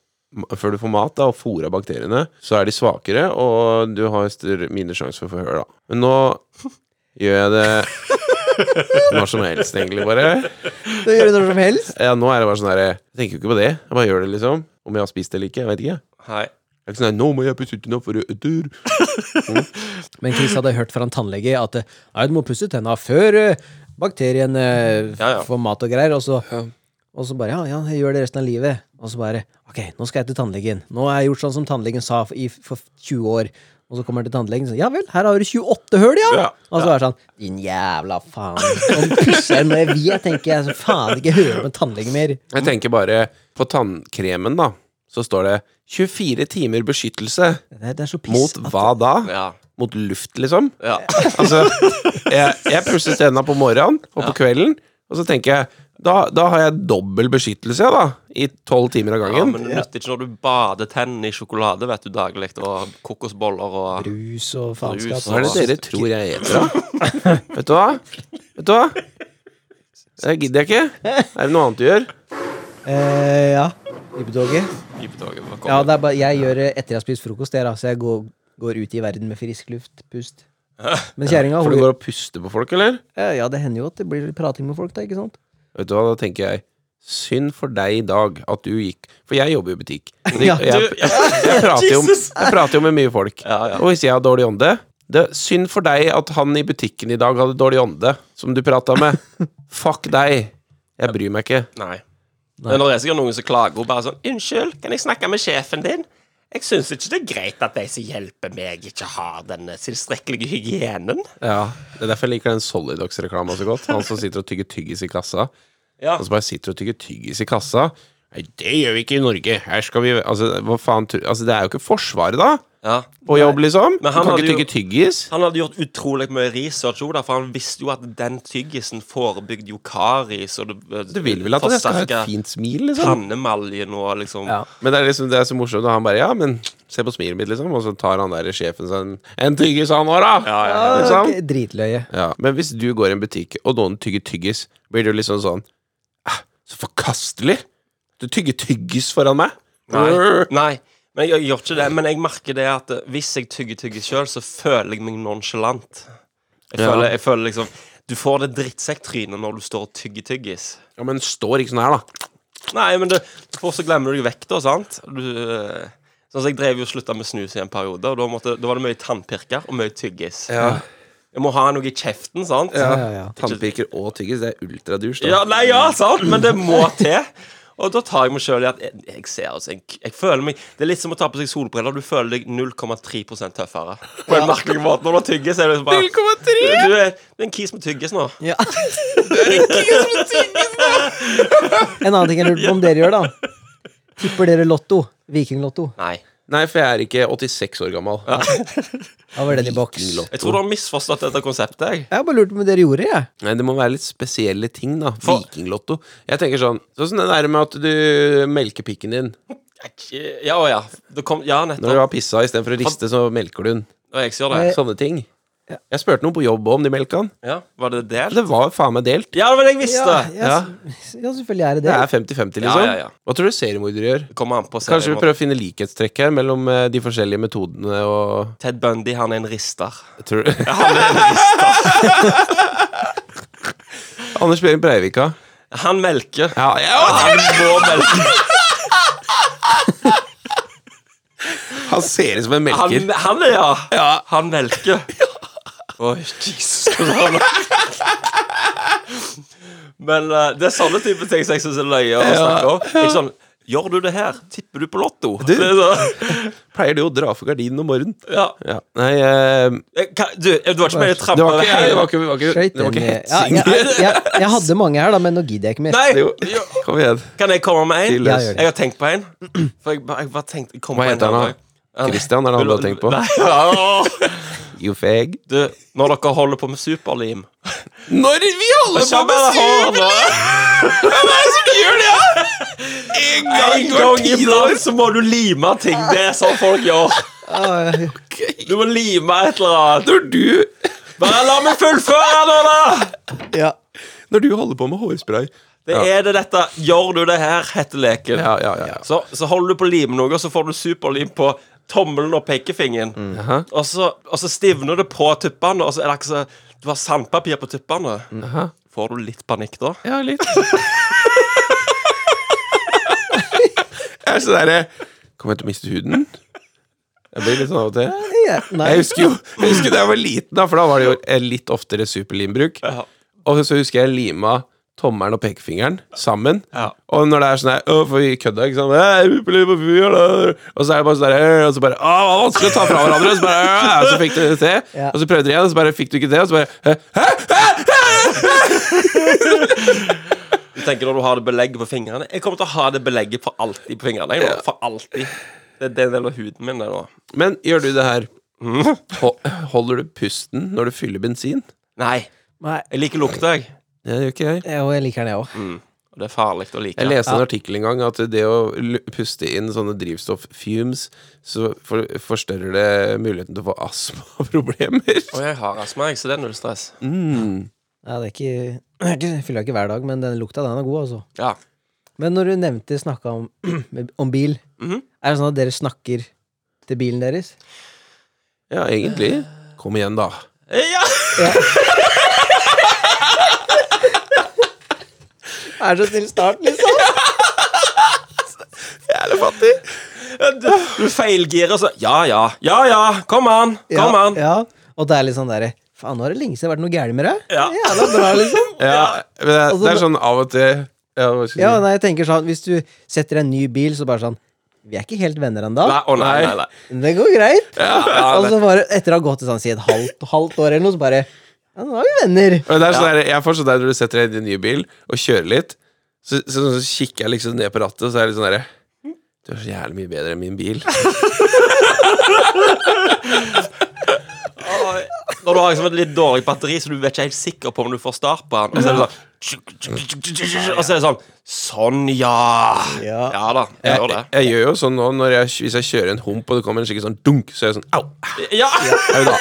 Speaker 2: før du får mat da, og fôrer bakteriene, så er de svakere, og du har større- mindre sjanse for å få hør. da. Men nå gjør jeg det når som helst, egentlig, bare.
Speaker 3: Da gjør du når som helst?
Speaker 2: Ja, nå er det bare sånn her Jeg tenker jo ikke på det. Jeg bare gjør det, liksom. Om jeg har spist det eller ikke. Jeg vet ikke.
Speaker 1: Hei.
Speaker 2: Jeg er ikke sånn her, Nå må jeg pusse ut nå for å dør.
Speaker 3: Men Chris hadde hørt fra en tannlege at eh, nei, du må pusse tenna før eh, bakteriene f-
Speaker 1: Ja, ja.
Speaker 3: får mat og greier. Og så, og så bare ja, ja, jeg gjør det resten av livet. Og så bare ok, nå skal jeg til tannlegen. Nå har jeg gjort sånn som tannlegen sa for, i, for 20 år. Og så kommer han til tannlegen og sier ja vel, her har du 28 høl, ja!
Speaker 2: Ja,
Speaker 3: Og så er det sånn din jævla faen. Og pusser når jeg vil, tenker jeg. Så faen ikke høre på en tannlege mer.
Speaker 2: Jeg tenker bare på tannkremen, da. Så står det 24 timer beskyttelse.
Speaker 3: Det, er- det er så piss
Speaker 2: Mot
Speaker 3: at-
Speaker 2: hva da?
Speaker 1: Ja.
Speaker 2: Mot luft, liksom?
Speaker 1: ja.
Speaker 2: Altså, jeg, jeg pusser tenna på morgenen og på kvelden, og så tenker jeg da, da har jeg dobbel beskyttelse, da. I tolv timer av
Speaker 1: ja
Speaker 2: gangen.
Speaker 1: men det nytter ikke når du bader tennene i sjokolade vet du, daglig, og kokosboller og
Speaker 3: Brus og
Speaker 1: Brus.
Speaker 3: faenskap.
Speaker 2: Hva er det dere tror jeg eter, da? Vet du hva? Vet du hva? Det gidder jeg ikke. Er det noe annet du gjør?
Speaker 3: Eh, ja. Ibbetoget.
Speaker 1: dypetoget. for å komme.
Speaker 3: Ja, det er bare, jeg gjør det etter jeg har spist frokost, jeg, da, så jeg går, går ut i verden med frisk luft. Pust. Men kjerringa,
Speaker 2: For
Speaker 3: hun
Speaker 2: du går og puster på folk, eller?
Speaker 3: Ja, Ja, det hender jo at det blir litt prating med folk, da, ikke sant?
Speaker 2: Vet du hva, da tenker jeg Synd for deg i dag at du gikk For jeg jobber i butikk. Og
Speaker 3: Ja,
Speaker 2: jeg, jeg, jeg prater jo om- jeg prater jo med mye folk.
Speaker 1: Ja, ja.
Speaker 2: Og hvis jeg har dårlig ånde det, Synd for deg at han i butikken i dag hadde dårlig ånde, som du prata med. Fuck deg. Jeg bryr meg ikke.
Speaker 1: Nei. Men det er sikkert noen som klager og bare sånn 'Unnskyld, kan jeg snakke med sjefen din?' 'Jeg syns ikke det er greit at de som hjelper meg, ikke har den tilstrekkelige hygienen.'
Speaker 2: Ja, Det er derfor jeg liker den Solidox-reklama så godt. Han som sitter og tygger tyggis i kassa.
Speaker 1: Ja.
Speaker 2: Han som bare sitter og tygger tyggis i kassa. Nei, det gjør vi ikke i Norge. Her skal vi Altså, hva faen tror Altså, det er jo ikke Forsvaret, da.
Speaker 1: Ja.
Speaker 2: på jobb, liksom. Du
Speaker 1: Men han
Speaker 2: kan
Speaker 1: hadde
Speaker 2: ikke
Speaker 1: jo-
Speaker 2: tygge tyggis.
Speaker 1: Han hadde gjort utrolig mye research, jo da, for han visste jo at den tyggisen forebygde jo karis. Og det,
Speaker 2: Du vil vel at jeg skal ha et
Speaker 1: forsterket
Speaker 2: fint smil, liksom?
Speaker 1: tannemaljen og liksom
Speaker 3: Ja.
Speaker 2: Men det er liksom det er så morsomt, og han bare Ja, men se på smilet mitt, liksom. Og så tar han der sjefen sånn En tyggis han har, da!
Speaker 1: Ja, ja,
Speaker 3: Ja,
Speaker 2: Liksom.
Speaker 3: det er Dritløye.
Speaker 2: Ja, Men hvis du går i en butikk, og noen tygger tyggis, blir du liksom sånn «Ah, Så forkastelig! Du tygger tyggis foran meg!
Speaker 1: Nei. nei. Men jeg, gjør ikke det. Men jeg merker det at eh, hvis jeg tygger tyggis sjøl, så føler jeg meg nonchalant. Jeg
Speaker 2: Ja.
Speaker 1: føler, jeg føler liksom Du får det drittsekktrynet når du står og tygger tyggis.
Speaker 2: Ja, men står ikke sånn her, da.
Speaker 1: Nei, men det, for så glemmer du deg vekk, da, sant? Du, eh, sånn som Jeg drev jo og slutta med snus i en periode, og da, måtte, da var det mye tannpirker og mye tyggis. Jeg må ha noe i kjeften, sant?
Speaker 3: Ja, ja, ja.
Speaker 2: Tannpirker og tyggis, det er ultradusj, da.
Speaker 1: Ja, nei, ja, sant, men det må til. Og da tar jeg meg sjøl i at jeg, jeg ser altså, jeg, jeg føler meg Det er litt som å ta på seg solbriller. Du føler deg 0,3 tøffere. På en merkelig måte. Når du tygger, så er det liksom bare 0,3 Du er du er en kis med tyggis nå.
Speaker 3: Ja. en annen ting jeg lurte på om dere gjør, da. Tipper dere Lotto? Vikinglotto?
Speaker 1: Nei.
Speaker 2: Nei, for jeg er ikke 86 år gammel.
Speaker 3: Da var den i boks.
Speaker 2: Vikinglotto.
Speaker 1: Jeg tror du har misforstått dette konseptet. jeg.
Speaker 3: Jeg har bare lurt på om dere gjorde det, jeg.
Speaker 2: Nei, det må være litt spesielle ting, da.
Speaker 1: For-
Speaker 2: Vikinglotto. Jeg tenker sånn Sånn som det der med at du melker pikken din.
Speaker 1: Ja og ja. Det kom, ja,
Speaker 2: Når du
Speaker 1: nettopp.
Speaker 2: har pissa istedenfor å riste, så melker du den.
Speaker 1: Og jeg som gjør det.
Speaker 2: Sånne ting. Jeg spurte noen på jobb om de melka den.
Speaker 1: Ja, Var det delt?
Speaker 2: Det var faen meg delt.
Speaker 1: Ja, men jeg visste!
Speaker 3: ja, ja, s- ja, selvfølgelig er det
Speaker 2: Det
Speaker 3: det.
Speaker 2: er 50-50, liksom.
Speaker 1: Ja, ja, ja.
Speaker 2: Hva tror du seriemordere gjør?
Speaker 1: Det kommer an på
Speaker 2: Kanskje vi
Speaker 1: serien.
Speaker 2: prøver å finne likhetstrekk her mellom eh, de forskjellige metodene og
Speaker 1: Ted Bundy, han er en rister.
Speaker 2: tror du? Anders Behring Breivika.
Speaker 1: Han melker.
Speaker 2: Ja, ja,
Speaker 1: Han må melke.
Speaker 2: han ser ut som en melker.
Speaker 1: Han, han er, ja. Han melker. Oi, Jesus. Men eh, det er sånne type ting som jeg syns er løye å snakke om. Ikke sånn Gjør du det her? Tipper du på Lotto? Det er så,
Speaker 2: Pleier du å dra for gardinen om morgenen?
Speaker 1: ja.
Speaker 2: Ja. Nei, eh,
Speaker 1: Eh, hva- Du, eh, du var ikke med i
Speaker 2: det
Speaker 1: trappa?
Speaker 2: var ikke,
Speaker 1: hele-
Speaker 2: det var ikke, det var ikke,
Speaker 3: Skøyt
Speaker 2: det var
Speaker 3: den
Speaker 2: ikke
Speaker 3: i- ja,
Speaker 2: hetsing.
Speaker 3: jeg, jeg, jeg hadde mange her, da, men nå gidder jeg ikke mer.
Speaker 1: Nei!
Speaker 2: Jo,
Speaker 1: jo.
Speaker 2: kom igjen.
Speaker 1: Kan jeg komme med en?
Speaker 2: Fyr løs.
Speaker 3: Ja, gjør det.
Speaker 1: Jeg har tenkt på en. For jeg, bare- jeg bare tenkte jeg kom
Speaker 2: Hva
Speaker 1: på en
Speaker 2: heter han
Speaker 1: her
Speaker 2: da?
Speaker 1: en dag. Han-
Speaker 2: Christian er det han du har tenkt på?
Speaker 1: Nei, ja, åh.
Speaker 2: You fag.
Speaker 1: Du, når dere holder på med superlim
Speaker 2: Når vi holder
Speaker 1: Kjapp er det håret nå!
Speaker 2: en
Speaker 1: En gang iblant så må du lime ting. Det er sånn folk gjør.
Speaker 3: Ah,
Speaker 1: Du må lime et eller annet.
Speaker 2: Når du,
Speaker 1: Bare la meg fullføre nå, da!
Speaker 3: ja.
Speaker 2: når du holder på med hårspray.
Speaker 1: Det
Speaker 2: Ja.
Speaker 1: er det dette 'Gjør du det her?' heter leken.
Speaker 2: Ja, ja, ja. ja.
Speaker 1: Så, så holder du på å lime noe, og så får du superlim på tommelen og pekefingeren.
Speaker 2: Aha.
Speaker 1: Og, så, og så stivner det på tuppene, og så er det ikke så Du har sandpapir på tuppene.
Speaker 2: Aha.
Speaker 1: Får du litt panikk da?
Speaker 2: Ja, litt. jeg er så derre Kommer jeg til å miste huden? Jeg blir litt sånn av og til.
Speaker 3: Ja, Nei.
Speaker 2: Jeg husker jo jeg husker da jeg var liten, da, for da var det jo eh, litt oftere superlimbruk.
Speaker 1: Ja.
Speaker 2: Og så husker jeg lima tommelen og pekefingeren sammen.
Speaker 1: Ja.
Speaker 2: Og når det er sånn her «Å, For vi kødda, ikke sant? «Hei, upeli, upefi, ja, da». Og så er det bare sånn der, «Å», Og så bare Å, det var vanskelig å ta fra hverandre! Og så bare «Å», Og så fikk du det til.
Speaker 3: Ja.
Speaker 2: Og så prøvde du igjen, og så bare fikk du ikke det. Og så bare «Hæ? Hæ?
Speaker 1: Du tenker når du har det belegget på fingrene Jeg kommer til å ha det belegget for alltid på fingrene. Jeg, nå. For alltid. Det, det er en del av huden min, det nå. Mm.
Speaker 2: Men gjør du det her Ho- Holder du pusten når du fyller bensin?
Speaker 1: Nei.
Speaker 3: Nei.
Speaker 1: Jeg liker lukta, jeg.
Speaker 2: Det gjør ikke jeg.
Speaker 3: Jo, jeg liker den, jeg òg.
Speaker 1: Og det er farlig å like.
Speaker 2: Jeg leste en artikkel en gang at det å lu- puste inn sånne drivstoff-fumes, så for, forstørrer det muligheten til å få astmaproblemer.
Speaker 1: Og jeg har astma, jeg, så det er null stress.
Speaker 2: Mm.
Speaker 3: Ja, det er ikke, det er ikke, jeg fyller ikke hver dag, men den lukta, den er god, altså.
Speaker 1: Ja.
Speaker 3: Men når du nevnte snakka om, om bil,
Speaker 1: Mhm.
Speaker 3: er det sånn at dere snakker til bilen deres?
Speaker 2: Ja, egentlig. Kom igjen, da.
Speaker 1: ja.
Speaker 3: Er det så snill start, liksom?
Speaker 2: Jævlig fattig!
Speaker 1: Du, du feilgirer, så Ja ja. Ja ja. Kom an. Kom
Speaker 3: ja,
Speaker 1: an.
Speaker 3: ja. Og det er litt sånn derre Faen, nå har det lenge siden vært noe gærent med deg.
Speaker 1: Ja.
Speaker 3: Jævla bra, liksom.
Speaker 2: Ja, men det, er- det er sånn av og til ja, hva skal jeg
Speaker 3: Ja,
Speaker 2: si?
Speaker 3: nei, jeg tenker sånn Hvis du setter en ny bil, så bare sånn Vi er ikke helt venner ennå.
Speaker 1: Nei, å nei, nei, nei.
Speaker 3: Men Det går greit.
Speaker 1: Ja,
Speaker 3: og så bare, etter å ha gått i sånn, si et halvt, halvt år eller noe, så bare Ja, nå er vi venner.
Speaker 2: Men det er sånn der, jeg får sånn der når du setter deg inn i en ny bil og kjører litt, så, så, så kikker jeg liksom ned på rattet, og så er det sånn derre Du er så jævlig mye bedre enn min bil.
Speaker 1: Når du har liksom et litt dårlig batteri, så du er ikke helt sikker på om du får start på den, og så er det sånn Og så er det sånn Sånn, ja.
Speaker 3: Ja.
Speaker 1: da. Jeg gjør det.
Speaker 2: Jeg, jeg gjør jo sånn nå når jeg, hvis jeg kjører en hump og det kommer en skikkelig sånn dunk, så er jeg sånn au!
Speaker 1: Ja.
Speaker 2: au da.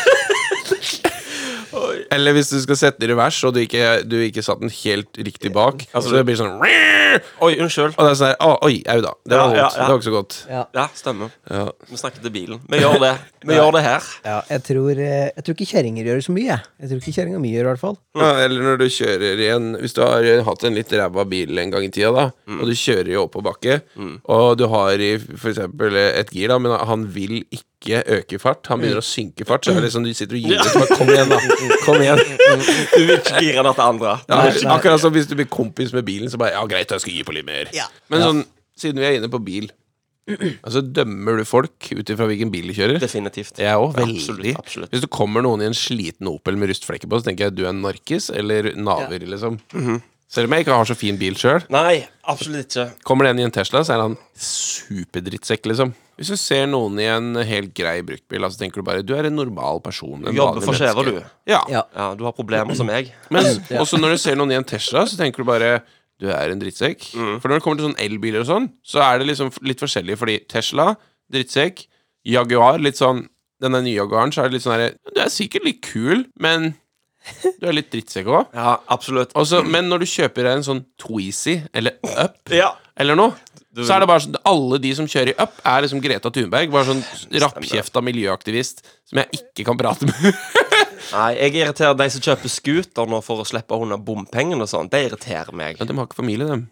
Speaker 2: Eller hvis du skal sette den i revers og du ikke, du ikke satt den helt riktig bak, altså, så det blir sånn Og
Speaker 1: Oi, unnskyld.
Speaker 2: det er sånn her au, Oi, au da. Det var
Speaker 1: Ja, ja,
Speaker 2: vondt.
Speaker 1: ja.
Speaker 2: Det var ikke så godt.
Speaker 1: Ja, stemmer.
Speaker 2: Ja.
Speaker 1: Vi snakker til bilen. Vi gjør det. Vi gjør det her.
Speaker 3: Ja, jeg tror, eh, jeg tror ikke kjerringer gjør så mye, jeg. Jeg tror ikke kjerringa mi gjør i hvert fall.
Speaker 2: Ja, eller når du kjører i en Hvis du har eh, hatt en litt ræva bil en gang i tida, da,
Speaker 1: Mm.
Speaker 2: og du kjører i oppoverbakke, og du har i f.eks. et gir, da, men han vil ikke øke fart,
Speaker 1: Mm.
Speaker 2: han begynner å synke fart, så er det liksom du sitter og gir ut bare, Kom igjen, da. Kom igjen.
Speaker 1: Du vil ikke gire deg til andre.
Speaker 2: Ja, akkurat som hvis du blir kompis med bilen, så bare Ja, greit, jeg skal gi på litt mer. Men sånn, siden vi er inne på bil, altså dømmer du folk ut ifra hvilken bil de kjører?
Speaker 1: Definitivt.
Speaker 2: Jeg òg, veldig.
Speaker 1: Absolutt, absolutt.
Speaker 2: Hvis det kommer noen i en sliten Opel med rustflekker på, så tenker jeg du er en narkis eller naver, liksom.
Speaker 1: Mhm.
Speaker 2: Selv om jeg ikke har så fin bil sjøl.
Speaker 1: Nei, absolutt ikke.
Speaker 2: Kommer det en i en Tesla, så er han superdrittsekk, liksom. Hvis du ser noen i en helt grei bruktbil, så tenker du bare du er en normal person. En
Speaker 1: Jobber
Speaker 2: vanlig
Speaker 1: for skjever,
Speaker 2: menneske.
Speaker 1: du.
Speaker 2: Ja.
Speaker 3: Ja.
Speaker 1: Ja, Du har problemer som meg.
Speaker 2: Men også når du ser noen i en Tesla, så tenker du bare du er en drittsekk. For når det kommer til sånn elbiler og sånn, så er det liksom litt forskjellig, fordi Tesla, drittsekk, Jaguar, litt sånn Den der nye Jaguaren, så er det litt sånn herre Du er sikkert litt kul, men du er litt drittsekk òg.
Speaker 1: Ja, absolutt.
Speaker 2: Men når du kjøper deg en sånn Tweezy eller Up
Speaker 1: Ja.
Speaker 2: eller noe, så er det bare sånn Alle de som kjører i Up, er liksom Greta Thunberg. Bare sånn rappkjefta miljøaktivist som jeg ikke kan prate med.
Speaker 1: Nei, jeg irriterer de som kjøper scooter nå for å slippe unna bompengene og sånn. Det irriterer meg.
Speaker 2: Ja, de har ikke familie, dem.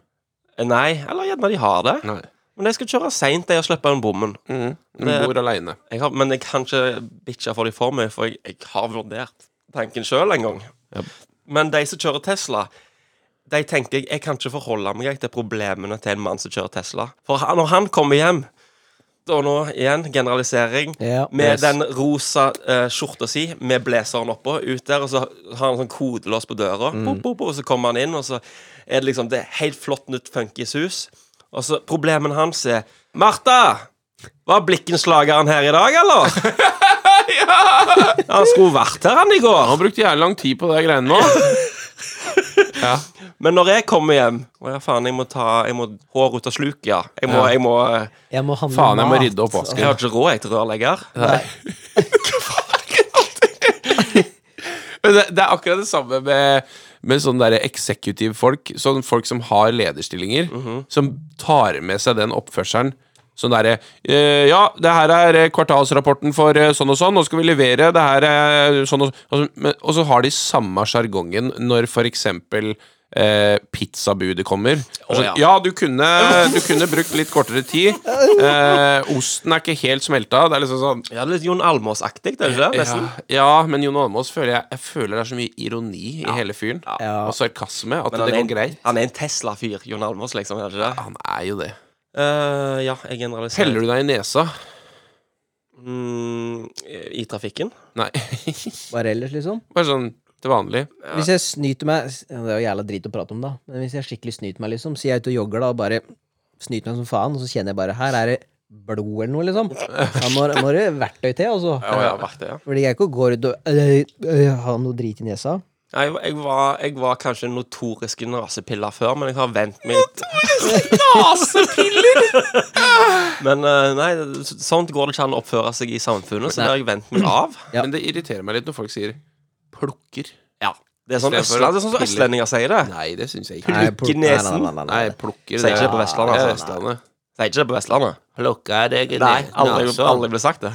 Speaker 1: Nei, eller gjerne de har det.
Speaker 2: Nei.
Speaker 1: Men de skal kjøre seint, de, og slippe inn bommen.
Speaker 2: De bor aleine.
Speaker 1: Jeg har, men jeg kan ikke bitche for de for mye, for jeg, jeg har vurdert tanken sjøl en gang. Men de som kjører Tesla, de tenker jeg jeg kan ikke forholde meg jeg, til problemene til en mann som kjører Tesla. For han, når han kommer hjem og nå igjen generalisering.
Speaker 3: Ja.
Speaker 1: med
Speaker 3: Yes.
Speaker 1: den rosa eh, skjorta si med blazeren oppå, ut der, og så har han sånn kodelås på døra.
Speaker 3: Mm.
Speaker 1: Pop, pop, pop, og så kommer han inn, og så er det liksom det er helt flott nytt funkis hus. Og så problemen hans er Martha! Var blikkenslageren her i dag, eller? ja! Han skulle vært her, han, i går.
Speaker 2: Han brukte jævlig lang tid på de greiene nå.
Speaker 1: Men når jeg kommer hjem Å ja, faen, jeg må ta Jeg må hår ut av sluket, ja. Jeg må, jeg må eh,
Speaker 3: Jeg må handle
Speaker 2: Faen, jeg må
Speaker 3: mat.
Speaker 2: rydde opp
Speaker 1: Jeg
Speaker 2: vasken.
Speaker 1: har ikke råd, jeg, til rørlegger.
Speaker 2: Men Det, det er akkurat det samme med, med sånne der eksekutivfolk. Sånne folk som har lederstillinger, som tar med seg den oppførselen. Sånn derre eh, Ja, det her er eh, kvartalsrapporten for eh, sånn og sånn, nå skal vi levere. Det her er sånn og sånn. Og så, men- og så har de samme sjargongen når for eksempel Eh, pizzabudet kommer. Og sånn,
Speaker 1: ja.
Speaker 2: ja, du kunne, du kunne brukt litt kortere tid. Eh, osten er ikke helt smelta. Det er liksom sånn
Speaker 1: Ja, det er litt Jon Almaas-aktig, det er ikke det? Nesten.
Speaker 2: Ja, ja, men Jon Almaas føler jeg, jeg føler det er så mye ironi i hele fyren.
Speaker 3: Ja.
Speaker 2: Og sarkasme.
Speaker 1: Men
Speaker 2: At det
Speaker 1: han, er
Speaker 2: går
Speaker 1: en,
Speaker 2: greit.
Speaker 1: han er en Tesla-fyr, Jon Almaas, liksom. Er det ikke det?
Speaker 2: Han er jo det.
Speaker 1: Eh, ja, jeg generaliserer.
Speaker 2: Peller du deg i nesa?
Speaker 1: Mm, I trafikken?
Speaker 2: Nei.
Speaker 3: Bare ellers, liksom.
Speaker 2: Bare sånn til vanlig.
Speaker 3: Hvis jeg snyter meg Det er jo jævla drit å prate om, da. Men hvis jeg skikkelig snyter meg, liksom, så jeg er ute og jogger da og bare snyter meg som faen, og så kjenner jeg bare Her er det blod eller noe, liksom. Da må, må det verktøy til, altså.
Speaker 1: Ja, ja, vært det, ja.
Speaker 3: Fordi jeg ikke går ut og øh, øh, har noe drit i nesa.
Speaker 1: Jeg, jeg, var, jeg var kanskje en notorisk nasepille før, men jeg har vent meg til Men eh, nei, sånt går det ikke an å oppføre seg i samfunnet, så det har jeg vent meg av.
Speaker 3: Ja.
Speaker 2: Men det irriterer meg litt når folk sier 'plukker'.
Speaker 1: Ja. Det er sånn,
Speaker 2: I stedet for
Speaker 1: østland, det er sånn som
Speaker 2: å spille.
Speaker 1: østlendinger sier det.
Speaker 2: Nei, det syns jeg ikke.
Speaker 3: Nei,
Speaker 1: Plukk i nesen.
Speaker 3: Nei, nei, nei,
Speaker 2: Nei,
Speaker 3: nei, nei.
Speaker 2: plukker
Speaker 1: Sier ikke det på Vestlandet,
Speaker 2: Ja,
Speaker 1: altså.
Speaker 2: Vestlandet.
Speaker 1: Sier ikke det på Vestlandet.
Speaker 4: Plukka deg
Speaker 1: Nei, altså. aldri, aldri ble sagt det.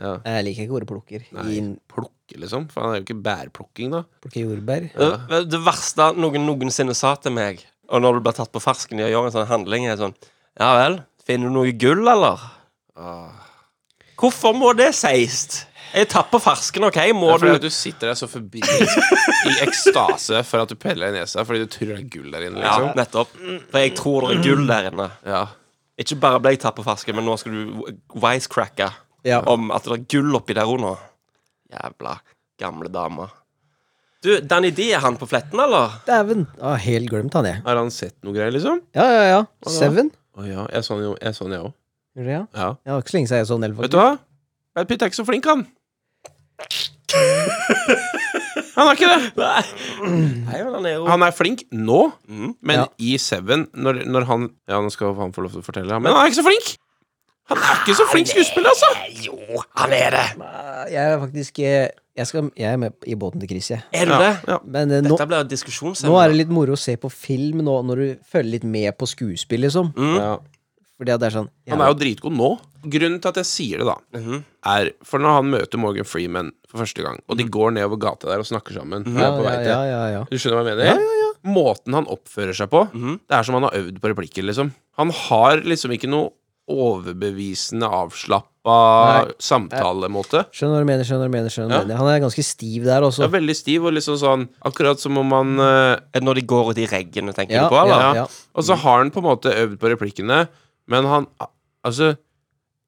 Speaker 3: Jeg liker ikke ordet plukker. I,
Speaker 2: Nei, plukke, liksom. Faen, det er jo ikke bærplukking, da.
Speaker 3: plukker jordbær.
Speaker 1: Det, det verste noen noensinne sa til meg, og når du blir tatt på fersken i å gjøre en sånn handling, er sånn Ja vel, finner du noe gull, eller? Hvorfor må det sies? Jeg er tatt på fersken, OK? Må
Speaker 2: Og
Speaker 1: du
Speaker 2: du, du sitter der så forbi i ekstase for at du peller deg i nesa fordi du tror det er gull der inne,
Speaker 1: Ja,
Speaker 2: liksom.
Speaker 1: nettopp. For jeg tror det er gull der inne.
Speaker 2: Ja.
Speaker 1: Ikke bare ble jeg tatt på fersken, men nå skal du wisecracke
Speaker 3: Ja.
Speaker 1: om at det er gull oppi der òg nå. Jævla gamle dame. Du, Danny D, er han på fletten, eller?
Speaker 3: Dæven! Ah, helt glemt han, jeg.
Speaker 2: Har han sett noe greier, liksom?
Speaker 3: Ja, ja, ja. Seven.
Speaker 2: Å ja, jeg så han sånn jo, jeg så han jeg òg.
Speaker 3: Gjør det, ja?
Speaker 2: Ja.
Speaker 3: Jeg har ikke så lenge siden jeg så Nell,
Speaker 2: Vet du hva? Brad Pitt er ikke så flink, han. Han er ikke det.
Speaker 1: Nei, Nei men han er jo
Speaker 2: Han er flink nå,
Speaker 1: mm.
Speaker 2: men
Speaker 3: Ja.
Speaker 2: i Seven, når, når han Ja, nå skal han få lov til å fortelle, men han er ikke så flink! Han er ikke så flink skuespiller, altså!
Speaker 1: Jo, han er det!
Speaker 3: faktisk. Jeg er faktisk eh, jeg, skal, jeg er med i båten til Chris, jeg.
Speaker 1: Er du
Speaker 2: Ja,
Speaker 1: det?
Speaker 2: ja.
Speaker 3: Men eh, nå,
Speaker 1: Dette blir jo
Speaker 3: nå
Speaker 1: diskusjonsemne.
Speaker 3: er det litt moro å se på film nå, når du følger litt med på skuespill, liksom.
Speaker 1: Mm.
Speaker 2: Ja.
Speaker 3: Fordi at det er sånn
Speaker 2: Han er jo dritgod nå. Grunnen til at jeg sier det, da,
Speaker 1: Mhm.
Speaker 2: er For når han møter Morgan Freeman for første gang, og de går nedover gata der og snakker sammen og
Speaker 3: Mhm. ja,
Speaker 2: er på vei
Speaker 3: ja,
Speaker 2: til
Speaker 3: ja, ja, ja.
Speaker 2: Du skjønner hva jeg mener? Måten han oppfører seg på, det er som han har øvd på replikker, liksom. Han har liksom ikke noe overbevisende, avslappa samtalemåte.
Speaker 3: Skjønner hva du mener. skjønner hva du mener, skjønner hva du mener Han er ganske stiv der
Speaker 2: Det
Speaker 3: også.
Speaker 2: er veldig stiv og liksom sånn Akkurat som om han eh,
Speaker 1: Er det når de går ut i regnet, tenker
Speaker 3: Ja,
Speaker 1: du på? Eller?
Speaker 3: ja,
Speaker 2: Ja. Og så har han på en måte øvd på replikkene, men han Altså,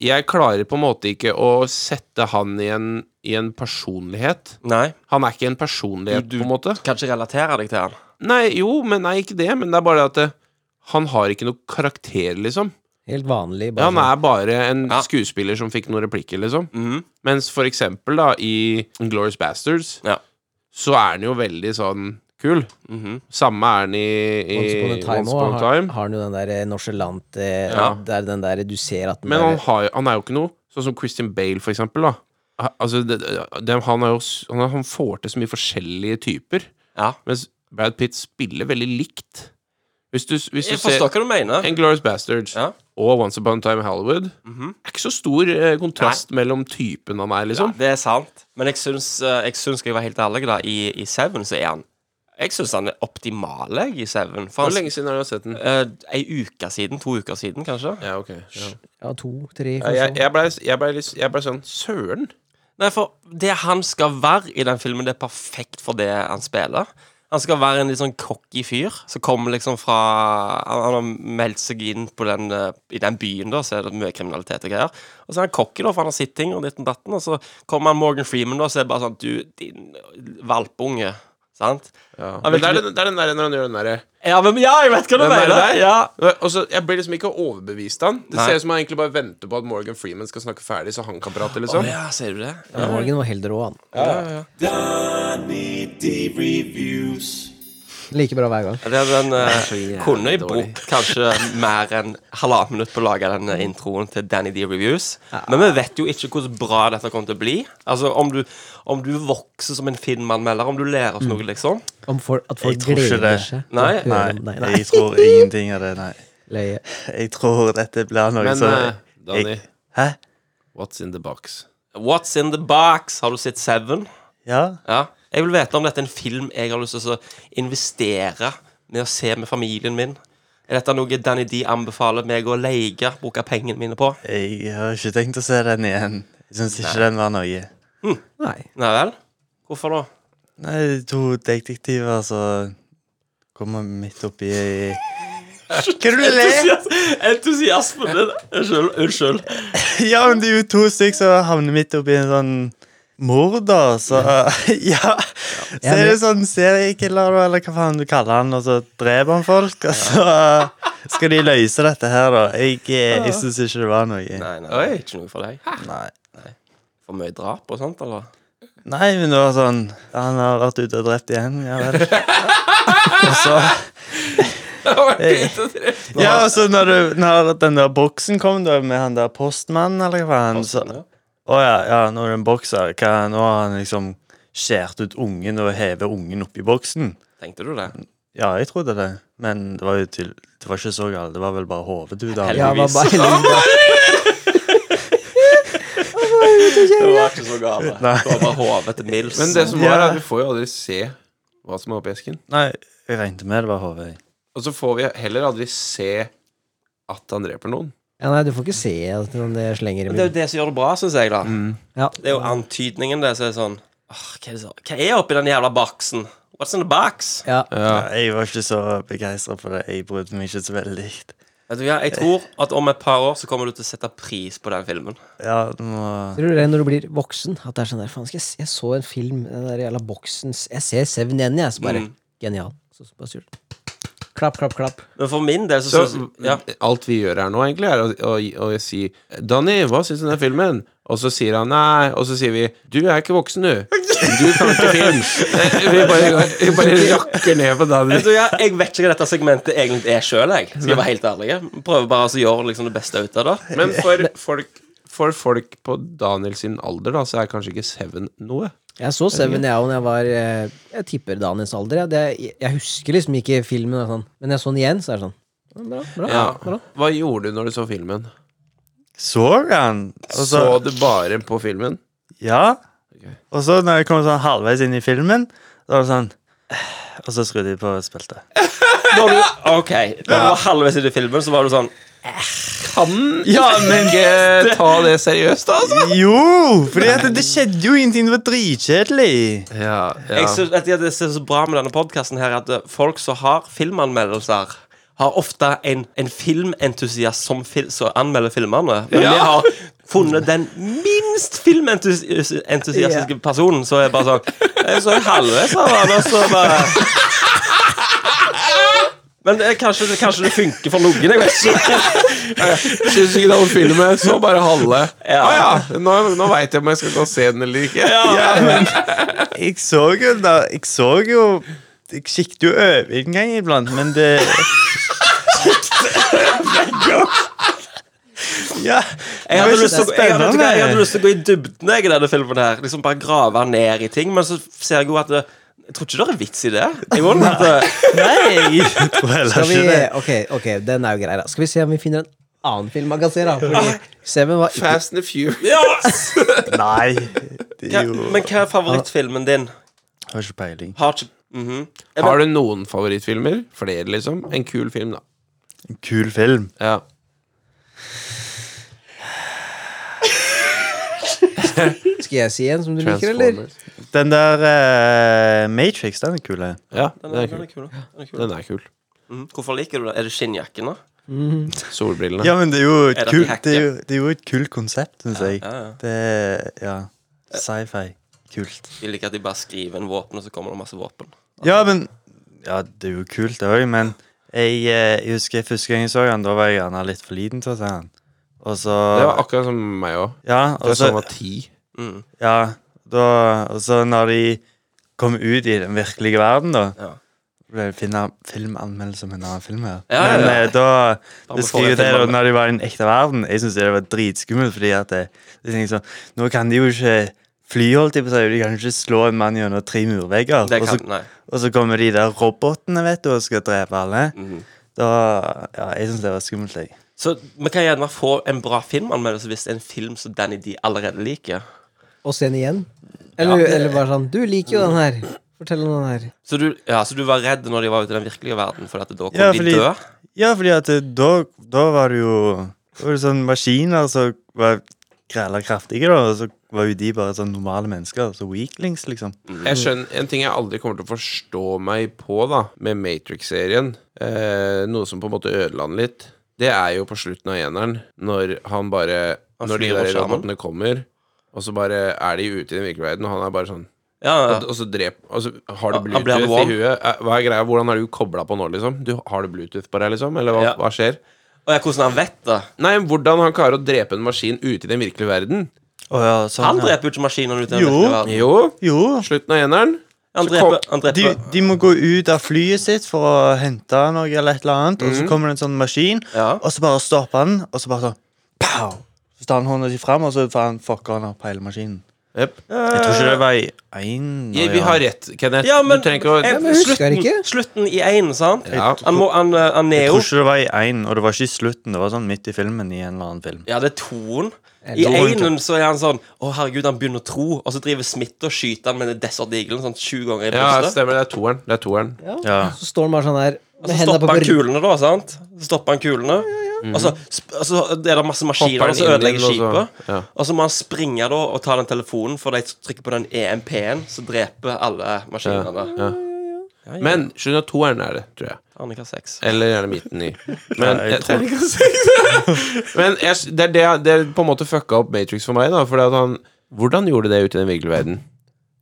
Speaker 2: jeg klarer på en måte ikke å sette han i en, i en personlighet.
Speaker 1: Nei.
Speaker 2: Han er ikke en personlighet,
Speaker 1: Du- du-
Speaker 2: på en måte.
Speaker 1: Kan ikke relatere deg til han.
Speaker 2: Nei, jo, men nei, ikke det. Men det er bare det at eh, han har ikke noe karakter, liksom.
Speaker 3: Helt vanlig.
Speaker 2: Ja,
Speaker 3: Bare
Speaker 2: han er bare en
Speaker 1: Ja.
Speaker 2: skuespiller som fikk noen replikker, liksom.
Speaker 1: Mhm.
Speaker 2: Mens for eksempel, da, i Glorious Bastards,
Speaker 1: Ja.
Speaker 2: så er han jo veldig sånn kul.
Speaker 1: Mhm.
Speaker 2: Samme er han i, i
Speaker 3: sånn Once upon a time,
Speaker 2: Once Upon a
Speaker 3: også,
Speaker 2: Time.
Speaker 3: Har, har han jo den der eh, nonchalant eh,
Speaker 2: Ja.
Speaker 3: Der den der du ser at den
Speaker 2: Men han,
Speaker 3: der,
Speaker 2: har, jo- han er jo ikke noe Sånn som Christian Bale, for eksempel, da. Ha- Altså, det, det, han, er jo, s- han, er- han får til så mye forskjellige typer,
Speaker 1: Ja.
Speaker 2: mens Brad Pitt spiller veldig likt. Hvis du, s- hvis
Speaker 1: Jeg
Speaker 2: du
Speaker 1: forstår
Speaker 2: ser
Speaker 1: hva du mener.
Speaker 2: Glorious Bastards
Speaker 1: Ja.
Speaker 2: og Once Upon a Time in Hollywood
Speaker 1: Mhm.
Speaker 2: Det er ikke så stor eh, kontrast mellom typen han er, liksom.
Speaker 1: Det er sant. Men jeg syns, eh, jeg syns skal jeg være helt ærlig, da, i, i Seven så er han Jeg syns han er optimal, jeg, i Seven. For
Speaker 2: Hvor
Speaker 1: han,
Speaker 2: lenge siden har du sett den?
Speaker 1: eh, ei uke siden, to uker siden, kanskje?
Speaker 2: Ja, ok ja.
Speaker 3: Ja, to, tre,
Speaker 2: Jeg, jeg,
Speaker 3: kanskje.
Speaker 2: ble, jeg, ble, litt- jeg ble sånn Søren!
Speaker 1: Nei, for det han skal være i den filmen, det er perfekt for det han spiller. Han skal være en litt sånn cocky fyr som kommer liksom fra Han, han har meldt seg inn på den, eh, i den byen, da, så er det mye kriminalitet og greier. Og så er han cocky, da, for han har sitt ting og ditten datten. Og så kommer han Morgan Freeman, da, så er det bare sånn Du, din valpunge. Sant?
Speaker 2: Men det, er den, det er den der når han gjør den derre
Speaker 1: Ja, men ja, jeg vet hva du
Speaker 2: Den der
Speaker 1: mener!
Speaker 2: der?
Speaker 1: Ja.
Speaker 2: Og så, Jeg blir liksom ikke overbevist av han. Det
Speaker 1: Nei.
Speaker 2: ser ut som han egentlig bare venter på at Morgan Freeman skal snakke ferdig, så han kan prate,
Speaker 1: Å
Speaker 2: liksom.
Speaker 1: ja, sier du det?
Speaker 3: Ja, Morgan var helt rå, han. Like bra hver gang.
Speaker 1: Det er den eh,
Speaker 2: jævlig
Speaker 1: Kunne jeg
Speaker 2: dårlig.
Speaker 1: brukt kanskje mer enn halvannet minutt på å lage den eh, introen til Danny D Reviews. Men vi vet jo ikke hvor bra dette kommer til å bli. Altså Om du, om du vokser som en filmanmelder, om du lærer oss noe, liksom.
Speaker 3: Om for, at folk
Speaker 6: Jeg tror ikke
Speaker 3: gleder
Speaker 6: det.
Speaker 3: seg. til å
Speaker 1: Nei,
Speaker 3: høre
Speaker 4: Oh,
Speaker 6: Nei,
Speaker 3: om- nei, nei.
Speaker 6: jeg tror ingenting av det, nei.
Speaker 3: Løye.
Speaker 6: Jeg tror dette blir noe
Speaker 2: Men
Speaker 6: som
Speaker 2: eh, Danny,
Speaker 6: jeg, Hæ?
Speaker 2: what's in the box?
Speaker 1: What's in the box? Har du sett Seven?
Speaker 6: Ja?
Speaker 1: Ja. Jeg vil vite om dette er en film jeg har lyst til å investere med å se med familien min. Er dette noe Danny D anbefaler meg å leie, bruke pengene mine på?
Speaker 6: Jeg har ikke tenkt å se den igjen. Jeg syns ikke den var noe.
Speaker 3: Nei.
Speaker 1: Nei vel? Hvorfor da?
Speaker 6: Nei, to detektiver som kommer midt oppi i Hva er det du ler?
Speaker 1: Entusiasmen din. Unnskyld. Unnskyld.
Speaker 6: Ja, men det er jo to stykker som havner midt oppi en sånn morder, så Ja. Så er det sånn seriekiller, da, eller hva faen du kaller han, og så dreper han folk, og så eh, skal de løse dette her, da. Jeg, eh, jeg syns ikke det var noe.
Speaker 1: Nei, nei, det er ikke noe for deg.
Speaker 6: Nei.
Speaker 1: For mye drap og sånt, eller?
Speaker 6: Nei, men det var sånn Han har vært ute og drept igjen, ja vel. Og så Ja, og så når, du, når den der boksen kom, da, med han der postmannen, eller hva faen, så
Speaker 2: Sånn,
Speaker 1: ja.
Speaker 6: Å ja, ja, nå er det en bokser. Hva, nå har han liksom skjært ut ungen og hevet ungen oppi boksen.
Speaker 1: Tenkte du det?
Speaker 6: Ja, jeg trodde det, men det var jo til Det var ikke så galt. Det var vel bare hodet du da.
Speaker 3: Ja,
Speaker 1: Heldigvis.
Speaker 3: var bare heldig.
Speaker 1: Det var ikke så gale. Det var bare hodet til Mills.
Speaker 2: Men det som
Speaker 6: Ja.
Speaker 2: var, er at vi får jo aldri se hva som er oppi esken.
Speaker 6: Nei, jeg regnet med det var hodet.
Speaker 2: Og så får vi heller aldri se at han dreper noen.
Speaker 3: Ja, nei, du får ikke se at han eh, slenger i
Speaker 1: Men det er
Speaker 3: munnen.
Speaker 1: jo det som gjør det bra, syns jeg, da.
Speaker 2: Mm.
Speaker 3: Ja.
Speaker 1: Det er jo antydningen det som er sånn «Åh, hva, er det så? hva er oppi den jævla boksen? What's in the box?
Speaker 3: Ja.
Speaker 6: Ja, jeg var ikke så begeistra for det. Jeg brydde meg ikke så veldig.
Speaker 1: Vet du hva, Jeg tror at om et par år så kommer du til å sette pris på den filmen.
Speaker 6: Ja, det må
Speaker 3: Tror du det er når du blir voksen? At det er sånn der Faen, skal jeg, s- jeg så en film, den der jævla boksen s- Jeg ser Seven igjen, jeg. Så bare
Speaker 1: Mm.
Speaker 3: Genial. Så, så bare sur. Klapp, klapp, klapp.
Speaker 1: Men for min del så,
Speaker 2: Så mm,
Speaker 1: synes- ja.
Speaker 2: alt vi gjør her nå, egentlig, er å, å, å si 'Danny, hva syns du om den filmen?' Og så sier han nei, og så sier vi 'Du er ikke voksen, du. Du kan ikke film'. Eh, Vi bare, vi bare rakker ned på Danny.
Speaker 1: Vet du, jeg, jeg vet ikke hva dette segmentet egentlig er sjøl, jeg. Skal jeg være helt ærlig. Prøver bare altså, å gjøre liksom, det beste ut av det.
Speaker 2: Men for folk, for folk på Daniel sin alder, da, så er kanskje ikke Seven noe.
Speaker 3: Jeg så Seven jeg òg da jeg var eh, Jeg tipper Daniels alder. Jeg, det, jeg husker liksom ikke filmen, og sånn. men jeg så den igjen, så er det sånn. ja, Bra, bra, bra.
Speaker 2: Hva gjorde du når du så filmen?
Speaker 6: Så han? Og
Speaker 2: Så du bare på filmen?
Speaker 6: Ja. Og så når jeg kom sånn halvveis inn i filmen, da var det sånn Og så skrudde de på og spilte.
Speaker 1: Når du, ok, når du var halvveis inn i filmen, så var du sånn
Speaker 2: Kan ikke ta det seriøst, da, altså!
Speaker 6: Jo! For det skjedde jo ingenting. Det var dritkjedelig.
Speaker 2: Ja, ja.
Speaker 1: Jeg synes, at det det som er så bra med denne podkasten, er at eh, folk som har filmanmeldelser har ofte en, en filmentusiast som, fil, som anmelder filmene. Men vi har funnet den minst filmentusiastiske personen, så er bare sånn Jeg så en halvveis av den, og så bare Men eh, kanskje, kanskje det funker for noen, jeg vet ikke.
Speaker 2: Syns ikke noe om filmen, så bare halve.
Speaker 1: Ja.
Speaker 2: Å ja, nå, nå veit jeg om jeg skal gå og se den eller ikke.
Speaker 6: Jeg så jo da Jeg så jo Jeg kikket jo over en gang iblant, men det Ja.
Speaker 1: Jeg hadde, lyst til, å- jeg, hadde, vet du hva, jeg hadde
Speaker 6: spennende.
Speaker 1: lyst til å gå i dybden jeg, i denne filmen. her Liksom Bare grave ned i ting. Men så ser jeg jo at det, Jeg tror ikke det er vits i det. Jeg må at det,
Speaker 6: Nei! Jeg tror heller
Speaker 3: Skal vi,
Speaker 6: ikke det.
Speaker 3: ok, ok, den er jo grei, da. Skal vi se om vi finner en annen film man kan se, da? Fordi Seven var ikke
Speaker 2: Fast and the Few.
Speaker 1: ja.
Speaker 6: Nei. Det
Speaker 1: hva,
Speaker 6: er jo
Speaker 1: Men hva er favorittfilmen din?
Speaker 6: Har ikke peiling.
Speaker 1: Har ikke mhm. Jeg
Speaker 2: Har
Speaker 1: bare-
Speaker 2: du noen favorittfilmer? Flere, liksom? En kul film, da.
Speaker 6: Kul film.
Speaker 2: Ja.
Speaker 3: Skal jeg si en som du liker, eller?
Speaker 6: Den der eh, Matrix, den er kul. eh.
Speaker 2: Ja, den
Speaker 1: Den
Speaker 2: er
Speaker 1: er- den er kul,
Speaker 2: kul.
Speaker 1: da. Den er kul.
Speaker 2: Den er kul.
Speaker 1: Mhm. Hvorfor liker du det? Er det skinnjakken, da?
Speaker 2: Solbrillene.
Speaker 6: Ja, men det er jo
Speaker 1: Er
Speaker 6: et
Speaker 1: det
Speaker 6: kult
Speaker 1: hack,
Speaker 6: det er
Speaker 1: ja?
Speaker 6: jo, det er jo et kult konsept, syns jeg.
Speaker 1: Ja, ja.
Speaker 6: Det er ja. Sci-fi. Kult.
Speaker 1: Jeg liker at de bare skriver en våpen, og så kommer det masse våpen.
Speaker 6: Ja, men Ja, det er jo kult, det òg, men jeg, eh, jeg husker første gang jeg så han, da var jeg gjerne litt for liten til å se han. Og så
Speaker 2: Det var akkurat som meg òg.
Speaker 6: Ja, og så
Speaker 3: Altså-
Speaker 2: Sånn var ti.
Speaker 1: Mhm.
Speaker 6: Ja, da, og så når de kom ut i den virkelige verden, da
Speaker 1: Ja.
Speaker 6: ble det finne filmanmeldelse om en annen film her.
Speaker 1: Ja, ja,
Speaker 6: Men
Speaker 1: ja.
Speaker 6: eh, da
Speaker 1: Da
Speaker 6: det
Speaker 1: må
Speaker 6: skriver
Speaker 1: vi få det
Speaker 6: det da,
Speaker 1: filmanmel-
Speaker 6: når de var i den ekte verden. Jeg syns det var dritskummelt, fordi at det, det er sånn, Nå kan de jo ikke fly, holdt jeg på å si. og De kan ikke slå en mann gjennom tre murvegger.
Speaker 1: Det
Speaker 6: Og så,
Speaker 1: kan Nei.
Speaker 6: og så kommer de der robotene, vet du, og skal drepe alle.
Speaker 1: Mhm.
Speaker 6: Da Ja, jeg syns det var skummelt, jeg.
Speaker 1: Så vi kan gjerne få en bra filmanmeldelse hvis det er en film som Danny D allerede liker.
Speaker 3: Og se den igjen? Eller, eller bare sånn Du liker jo den her. Fortell om den her.
Speaker 1: Så du, ja, så du var redd når de var ute i den virkelige verden, for at da kom
Speaker 6: Ja,
Speaker 1: de
Speaker 6: fordi-
Speaker 1: dø?
Speaker 6: Ja, fordi at eh, da, da var det jo Da var det sånn maskiner som var græla kraftige, da, og så var jo de bare sånn normale mennesker. Så weaklings, liksom.
Speaker 2: Jeg skjønner, En ting jeg aldri kommer til å forstå meg på da med Matrix-serien, eh, noe som på en måte ødela den litt, det er jo på slutten av eneren, når han bare
Speaker 1: Han
Speaker 2: Når de
Speaker 1: flyr
Speaker 2: der
Speaker 1: opp skjermen.
Speaker 2: robotene kommer, og så bare er de ute i den virkelige verden, og han er bare sånn
Speaker 1: Ja, ja.
Speaker 2: Og, og så drep Og så har du
Speaker 1: Han- han blir
Speaker 2: Bluetooth i
Speaker 1: han
Speaker 2: huet. Eh, Hva er greia? Hvordan er du kobla på nå, liksom? Du, har du Bluetooth på deg, liksom? Eller hva,
Speaker 1: Ja.
Speaker 2: hva skjer?
Speaker 1: Og ja, hvordan han vet det.
Speaker 2: Nei, hvordan han klarer å drepe en maskin ute i den virkelige verden?
Speaker 6: Å ja, sånn,
Speaker 1: Han
Speaker 6: ja.
Speaker 1: dreper jo ikke maskinene ute i den
Speaker 6: Jo.
Speaker 1: virkelige verden.
Speaker 2: Jo,
Speaker 6: Jo.
Speaker 2: slutten av eneren.
Speaker 1: Han
Speaker 2: Så
Speaker 1: dreper,
Speaker 2: kom-
Speaker 1: han
Speaker 6: De,
Speaker 1: dreper
Speaker 6: de må gå ut av flyet sitt for å hente noe eller et eller annet, og så kommer det en sånn maskin,
Speaker 1: Ja.
Speaker 6: og så bare stopper han, og så bare sånn pow! Så tar han hånda si fram, og så får han fucker han opp hele maskinen.
Speaker 2: Yep.
Speaker 6: Jeg tror ikke det var i én
Speaker 2: Eh, Ja, vi har rett, Kenneth.
Speaker 1: Ja, men,
Speaker 2: du trenger ikke å
Speaker 1: Eh,
Speaker 3: men jeg husker
Speaker 1: slutten,
Speaker 3: ikke.
Speaker 1: slutten i én, sant?
Speaker 2: Ja.
Speaker 1: Han, må, han, eh, han
Speaker 6: Jeg
Speaker 1: Neo
Speaker 6: tror ikke det var i én, og det var ikke i slutten. Det var sånn midt i filmen i en eller annen film.
Speaker 1: Ja, det er toen. I énen så er han sånn Å, herregud, han begynner å tro, og så driver Smith og skyter han med den Desert Eagle sånn sju ganger i
Speaker 2: Ja,
Speaker 1: brystet.
Speaker 2: stemmer. Det er toeren. Det er toeren.
Speaker 6: Ja.
Speaker 3: Så står han bare sånn der
Speaker 1: og
Speaker 3: med
Speaker 1: så
Speaker 3: hendene
Speaker 1: stopper
Speaker 3: på
Speaker 1: han
Speaker 3: ryggen.
Speaker 1: kulene, da, sant? Så stopper han kulene. Og, så, sp- og så er det masse
Speaker 2: Hopper
Speaker 1: maskiner
Speaker 2: han
Speaker 1: som
Speaker 2: inn
Speaker 1: ødelegger
Speaker 2: igjen, og så-
Speaker 1: skipet.
Speaker 2: ja.
Speaker 1: Og så må han springe da og ta den telefonen, for de trykker på den EMP-en, så dreper alle maskinene.
Speaker 2: Ja. Men skjønner at toeren er det, tror jeg.
Speaker 1: Arnika 6.
Speaker 2: Eller gjerne midten i. Men,
Speaker 6: jeg tror-
Speaker 2: men jeg, det er det det er på en måte fucka opp Matrix for meg, da. Fordi at han Hvordan gjorde det ute i den virkelige verden?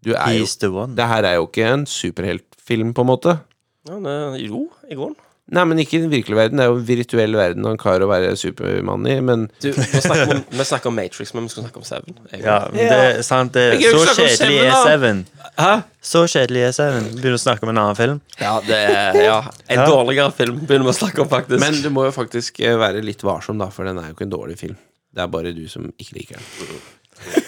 Speaker 2: Du er jo
Speaker 6: He's the one.
Speaker 2: Det her er jo ikke en superheltfilm, på en måte.
Speaker 1: Ja, det, jo, i grunnen.
Speaker 2: Nei, men ikke i den virkelige verden. Det er jo en virtuell verden han klarer å være Supermann i, men
Speaker 1: Du, nå snakker vi, om, vi snakker om Matrix, men vi skulle snakke om Seven. Jeg-
Speaker 6: Ja, men det er sant. Det,
Speaker 2: Jeg kan jo
Speaker 6: så
Speaker 2: ikke snakke om
Speaker 6: kjedelig
Speaker 2: Seven,
Speaker 6: er
Speaker 2: da.
Speaker 6: Seven.
Speaker 1: Hæ?
Speaker 6: Så kjedelig er Seven. Begynner å snakke om en annen film.
Speaker 1: Ja, det er ja. En
Speaker 6: Ja.
Speaker 1: dårligere film begynner vi å snakke om, faktisk.
Speaker 2: Men du må jo faktisk eh, være litt varsom, da, for den er jo ikke en dårlig film. Det er bare du som ikke liker den.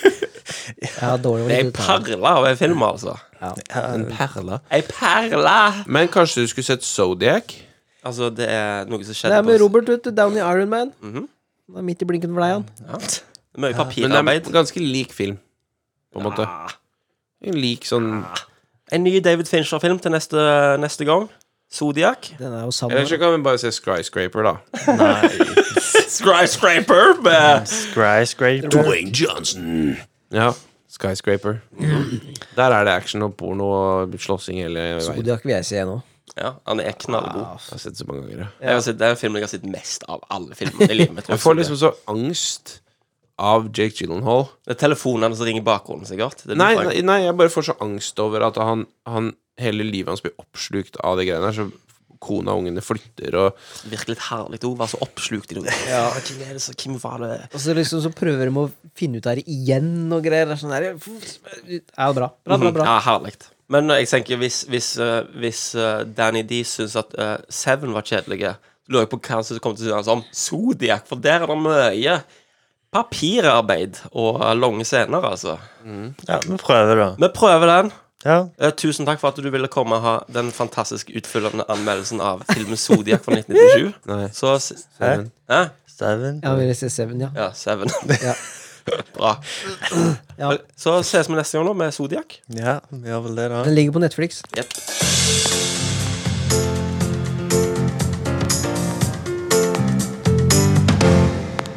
Speaker 3: Ja, dårlig å
Speaker 1: det er ei
Speaker 3: lytte til.
Speaker 1: perle av en film, altså.
Speaker 2: En perle.
Speaker 1: Ei perle!
Speaker 2: Men kanskje du skulle sett Zodiac?
Speaker 1: Altså, det er noe som
Speaker 3: Det
Speaker 1: skjedde
Speaker 3: er med
Speaker 1: på
Speaker 3: Robert vet du, Downey Iron Man. Det er midt i blinken for deg, han.
Speaker 1: Mye
Speaker 2: Men det er
Speaker 1: papirarbeid.
Speaker 2: en ganske lik film, på en måte. En lik sånn
Speaker 1: En ny David Fincher-film til neste, neste gang. Zodiac.
Speaker 3: Den er
Speaker 2: Eller
Speaker 3: jo sammen.
Speaker 2: så kan vi bare se Skyscraper, da.
Speaker 1: Skyscraper med
Speaker 6: Skyscraper.
Speaker 4: Dwayne Johnson.
Speaker 2: Ja, Skyscraper. Der er det action og porno og slåssing hele veien.
Speaker 3: Zodiac vil jeg se nå.
Speaker 1: Ja, han er knallgod.
Speaker 2: Jeg har sett så mange ganger. Ah, Ja.
Speaker 1: Jeg har sett, det er en film jeg har sett mest av alle filmer i livet mitt. tror
Speaker 2: Jeg får
Speaker 1: jeg.
Speaker 2: liksom så angst av Jake Gyllenhaal.
Speaker 1: Det er telefonene som ringer i bakgrunnen, sikkert. Det er
Speaker 2: Nei,
Speaker 1: litt
Speaker 2: nei, nei, jeg bare får så angst over at han, han hele livet hans blir oppslukt av de greiene her. Så kona og ungene flytter og
Speaker 1: Det virker litt herlig å være så oppslukt i noe. Ja, hvem er det som Hvem var det?
Speaker 3: Og så liksom så prøver de å finne ut av det igjen og greier. Det er Sånn der, ja, bra. Bra, bra, bra.
Speaker 1: Mhm. Ja, herlig. Men jeg tenker hvis, hvis, eh, hvis eh, Danny D syns at eh, Seven var kjedelige, lurer jeg på hva han synes kommer til å synes om Zodiac, for der er det mye papirarbeid og eh, lange scener, altså.
Speaker 6: Ja, vi prøver, da.
Speaker 1: Vi prøver den.
Speaker 6: Ja.
Speaker 1: Eh, tusen takk for at du ville komme og ha den fantastisk utfyllende anmeldelsen av filmen Zodiac fra 1997.
Speaker 2: Nei.
Speaker 1: Så s-
Speaker 2: Seven.
Speaker 1: Hæ?
Speaker 6: Seven.
Speaker 3: Ja, vil jeg se Seven, ja.
Speaker 1: Ja, Seven.
Speaker 3: Ja.
Speaker 1: Bra.
Speaker 3: Ja.
Speaker 1: Så ses vi neste gang, da, med Zodiac.
Speaker 6: Ja, vi gjør vel det, da.
Speaker 3: Den ligger på Netflix.
Speaker 1: Yep.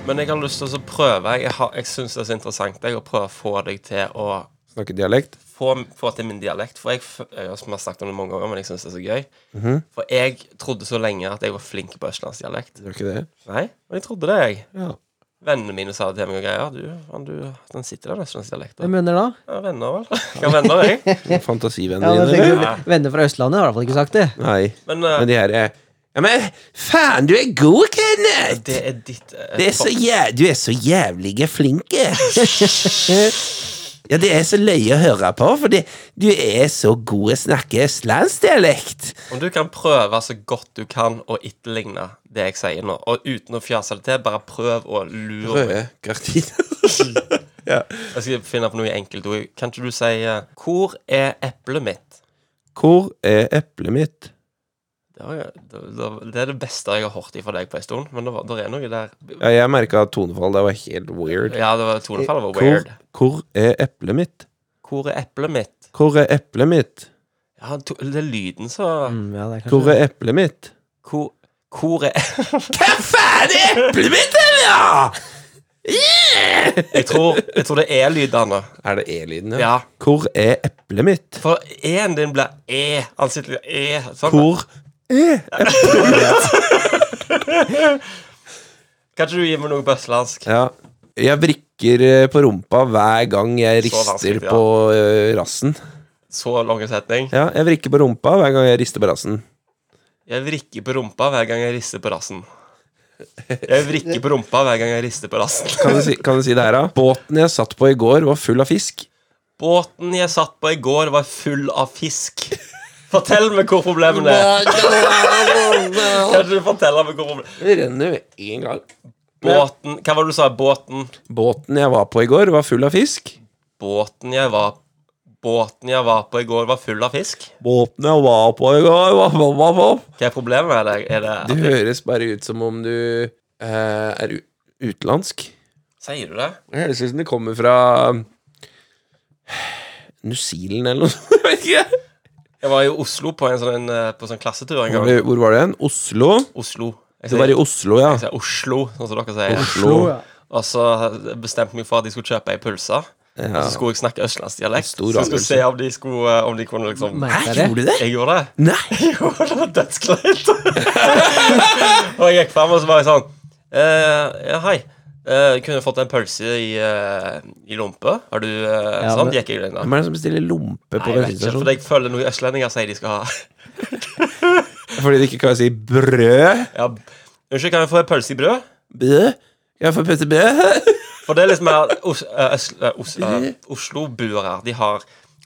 Speaker 1: Men jeg har lyst til å så prøve. Jeg, har, jeg syns det er så interessant jeg, å prøve å få deg til å
Speaker 2: snakker dialekt.
Speaker 1: få, få til min dialekt. For jeg, f- jeg har som jeg har snakket om det mange ganger, men jeg syns det er så gøy.
Speaker 3: Mhm.
Speaker 1: For jeg trodde så lenge at jeg var flink på østlandsdialekt.
Speaker 2: Gjør ikke det?
Speaker 1: Nei, men jeg trodde det, jeg.
Speaker 2: Ja.
Speaker 1: Vennene mine sa det til meg og greier. Du, han, du, den sitter der, østlandsdialekten.
Speaker 3: Hvem mener da?
Speaker 1: Ja, venner, vel. Ja, venner, jeg.
Speaker 3: Ja,
Speaker 2: Fantasivennene
Speaker 3: men
Speaker 2: dine?
Speaker 3: tenker, du, venner fra Østlandet har i hvert fall ikke sagt det.
Speaker 2: Nei.
Speaker 1: Men, eh,
Speaker 2: Men de her er Ja, men faen, du er god, Kenneth!
Speaker 1: det er ditt eh,
Speaker 2: Det er så jæv... Du er så jævlig flinke. Ja, det er så løye å høre på, for det, du er så god å snakke østlandsdialekt.
Speaker 1: Om du kan prøve så godt du kan å etterligne det jeg sier nå, og uten å fjase det til, bare prøv å lure meg.
Speaker 2: gardiner.
Speaker 1: Jeg skal finne på noe enkelt ord. Kan ikke du si eh, 'Hvor er eplet mitt'?
Speaker 2: Hvor er eplet mitt?
Speaker 1: Det, har jeg, det, det- det er det beste jeg har hørt fra deg på en stund, men det, var, det er noe der
Speaker 2: Ja, jeg merka tonefall. Det var helt weird.
Speaker 1: Ja, det var tonefallet var
Speaker 2: Hvor,
Speaker 1: weird.
Speaker 2: hvor er eplet mitt?
Speaker 1: Hvor er eplet mitt?
Speaker 2: Hvor er eplet mitt?
Speaker 1: Ja, to, det er lyden så
Speaker 3: Mm, ja, det er kanskje
Speaker 2: Hvor er eplet mitt?
Speaker 1: Hvor, hvor er
Speaker 2: Hva faen er eplet mitt, eller?!
Speaker 1: jeg tror, jeg tror det er lydene.
Speaker 2: Er det e-lyden, ja?
Speaker 1: Ja.
Speaker 2: Hvor er eplet mitt?
Speaker 1: For e-en din blir e. Ansiktet blir e. Sånn.
Speaker 2: Hvor er
Speaker 1: Kan ikke du gi meg noe på østlandsk?
Speaker 2: Ja. Jeg vrikker eh, på rumpa hver gang jeg
Speaker 1: Så vanskelig,
Speaker 2: rister
Speaker 1: ja.
Speaker 2: på eh, rassen.
Speaker 1: Så lang setning.
Speaker 2: Ja, jeg vrikker på rumpa hver gang jeg rister på rassen.
Speaker 1: Jeg vrikker på rumpa hver gang jeg rister på rassen. Jeg vrikker på rumpa hver gang jeg rister på rassen.
Speaker 2: Kan du si, kan du si det her, da? Båten jeg satt på i går, var full av fisk.
Speaker 1: Båten jeg satt på i går, var full av fisk. Fortell meg hvor problemene er. Kan ikke du fortelle meg hvor problemene
Speaker 2: Det renner en gang.
Speaker 1: Båten Hva var det du sa? Båten
Speaker 2: Båten jeg var på i går, var full av fisk.
Speaker 1: Båten jeg var Båten jeg var på i går, var full av fisk?
Speaker 2: Båten jeg var på i går, var full av fisk.
Speaker 1: Hva er problemet med det? Er det
Speaker 2: Det høres bare ut som om du eh, er u- utenlandsk.
Speaker 1: Sier du det?
Speaker 2: Det høres ut som det kommer fra eh, New Zealand eller noe sånt. Jeg vet ikke.
Speaker 1: Jeg var i Oslo på en sånn, eh, på sånn klassetur en
Speaker 2: Hvor,
Speaker 1: gang.
Speaker 2: hvor var det hen? Oslo?
Speaker 1: Oslo. Jeg
Speaker 2: Det var i Oslo, ja.
Speaker 1: Jeg sier Oslo, sånn som dere sier.
Speaker 2: Oslo.
Speaker 1: Og så bestemte jeg meg for at de skulle kjøpe ei pølse.
Speaker 2: Ja.
Speaker 1: Og så skulle jeg snakke østlandsdialekt. Så
Speaker 2: Stor
Speaker 1: jeg skulle
Speaker 2: avgjørelse.
Speaker 1: se om de, skulle, om de kunne liksom
Speaker 3: Merker
Speaker 2: Hæ,
Speaker 3: jeg det?
Speaker 2: gjorde du det?
Speaker 1: Jeg gjorde det.
Speaker 2: Nei!
Speaker 1: Jo, det var dødskleint. og jeg gikk fram og så var jeg sånn eh, Ja, hei. Eh, kunne jeg fått en pølse i, eh, i lompe? Har du eh,
Speaker 3: Ja,
Speaker 1: Sånn
Speaker 3: men-
Speaker 1: gikk jeg inn da.
Speaker 2: Hvem er sånn. det som bestiller lompe på
Speaker 1: Nei, jeg vet ikke, for altså,
Speaker 2: bensinstasjonen?
Speaker 1: jeg føler noe østlendinger sier de skal ha.
Speaker 2: Fordi de ikke kan si brød.
Speaker 1: Ja. Unnskyld, kan jeg få en pølse i brød?
Speaker 2: Brød? Jeg får putte brød.
Speaker 1: For det er liksom mer Os- eh, Øs- eh, Os- eh, Oslo-buere. De har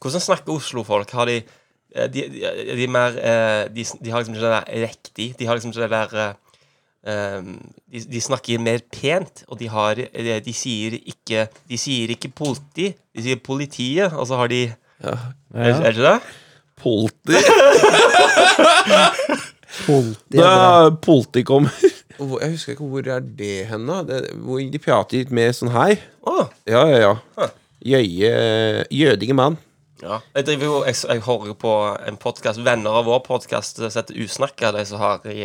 Speaker 1: Hvordan snakker Oslo-folk? Har de eh, de, de, de er mer eh, de, de har liksom ikke det der riktig. De har liksom ikke det der eh, ehm, de, de snakker mer pent, og de har eh, De sier ikke De sier ikke politi, de sier politiet, og så har de Er, er det ikke det?
Speaker 2: Polti.
Speaker 3: Politi er bra.
Speaker 2: Da polti kommer. Hvor- Jeg husker ikke hvor er det hen, da. Det, hvor de prater litt mer sånn her.
Speaker 1: Å,
Speaker 2: Ja, ja, ja.
Speaker 1: Hæ.
Speaker 2: Jøye Jødige mann.
Speaker 1: ja. Jeg driver jo Jeg, s- jeg hører jo på en podkast Venner av vår podkast heter Usnakka, de som har i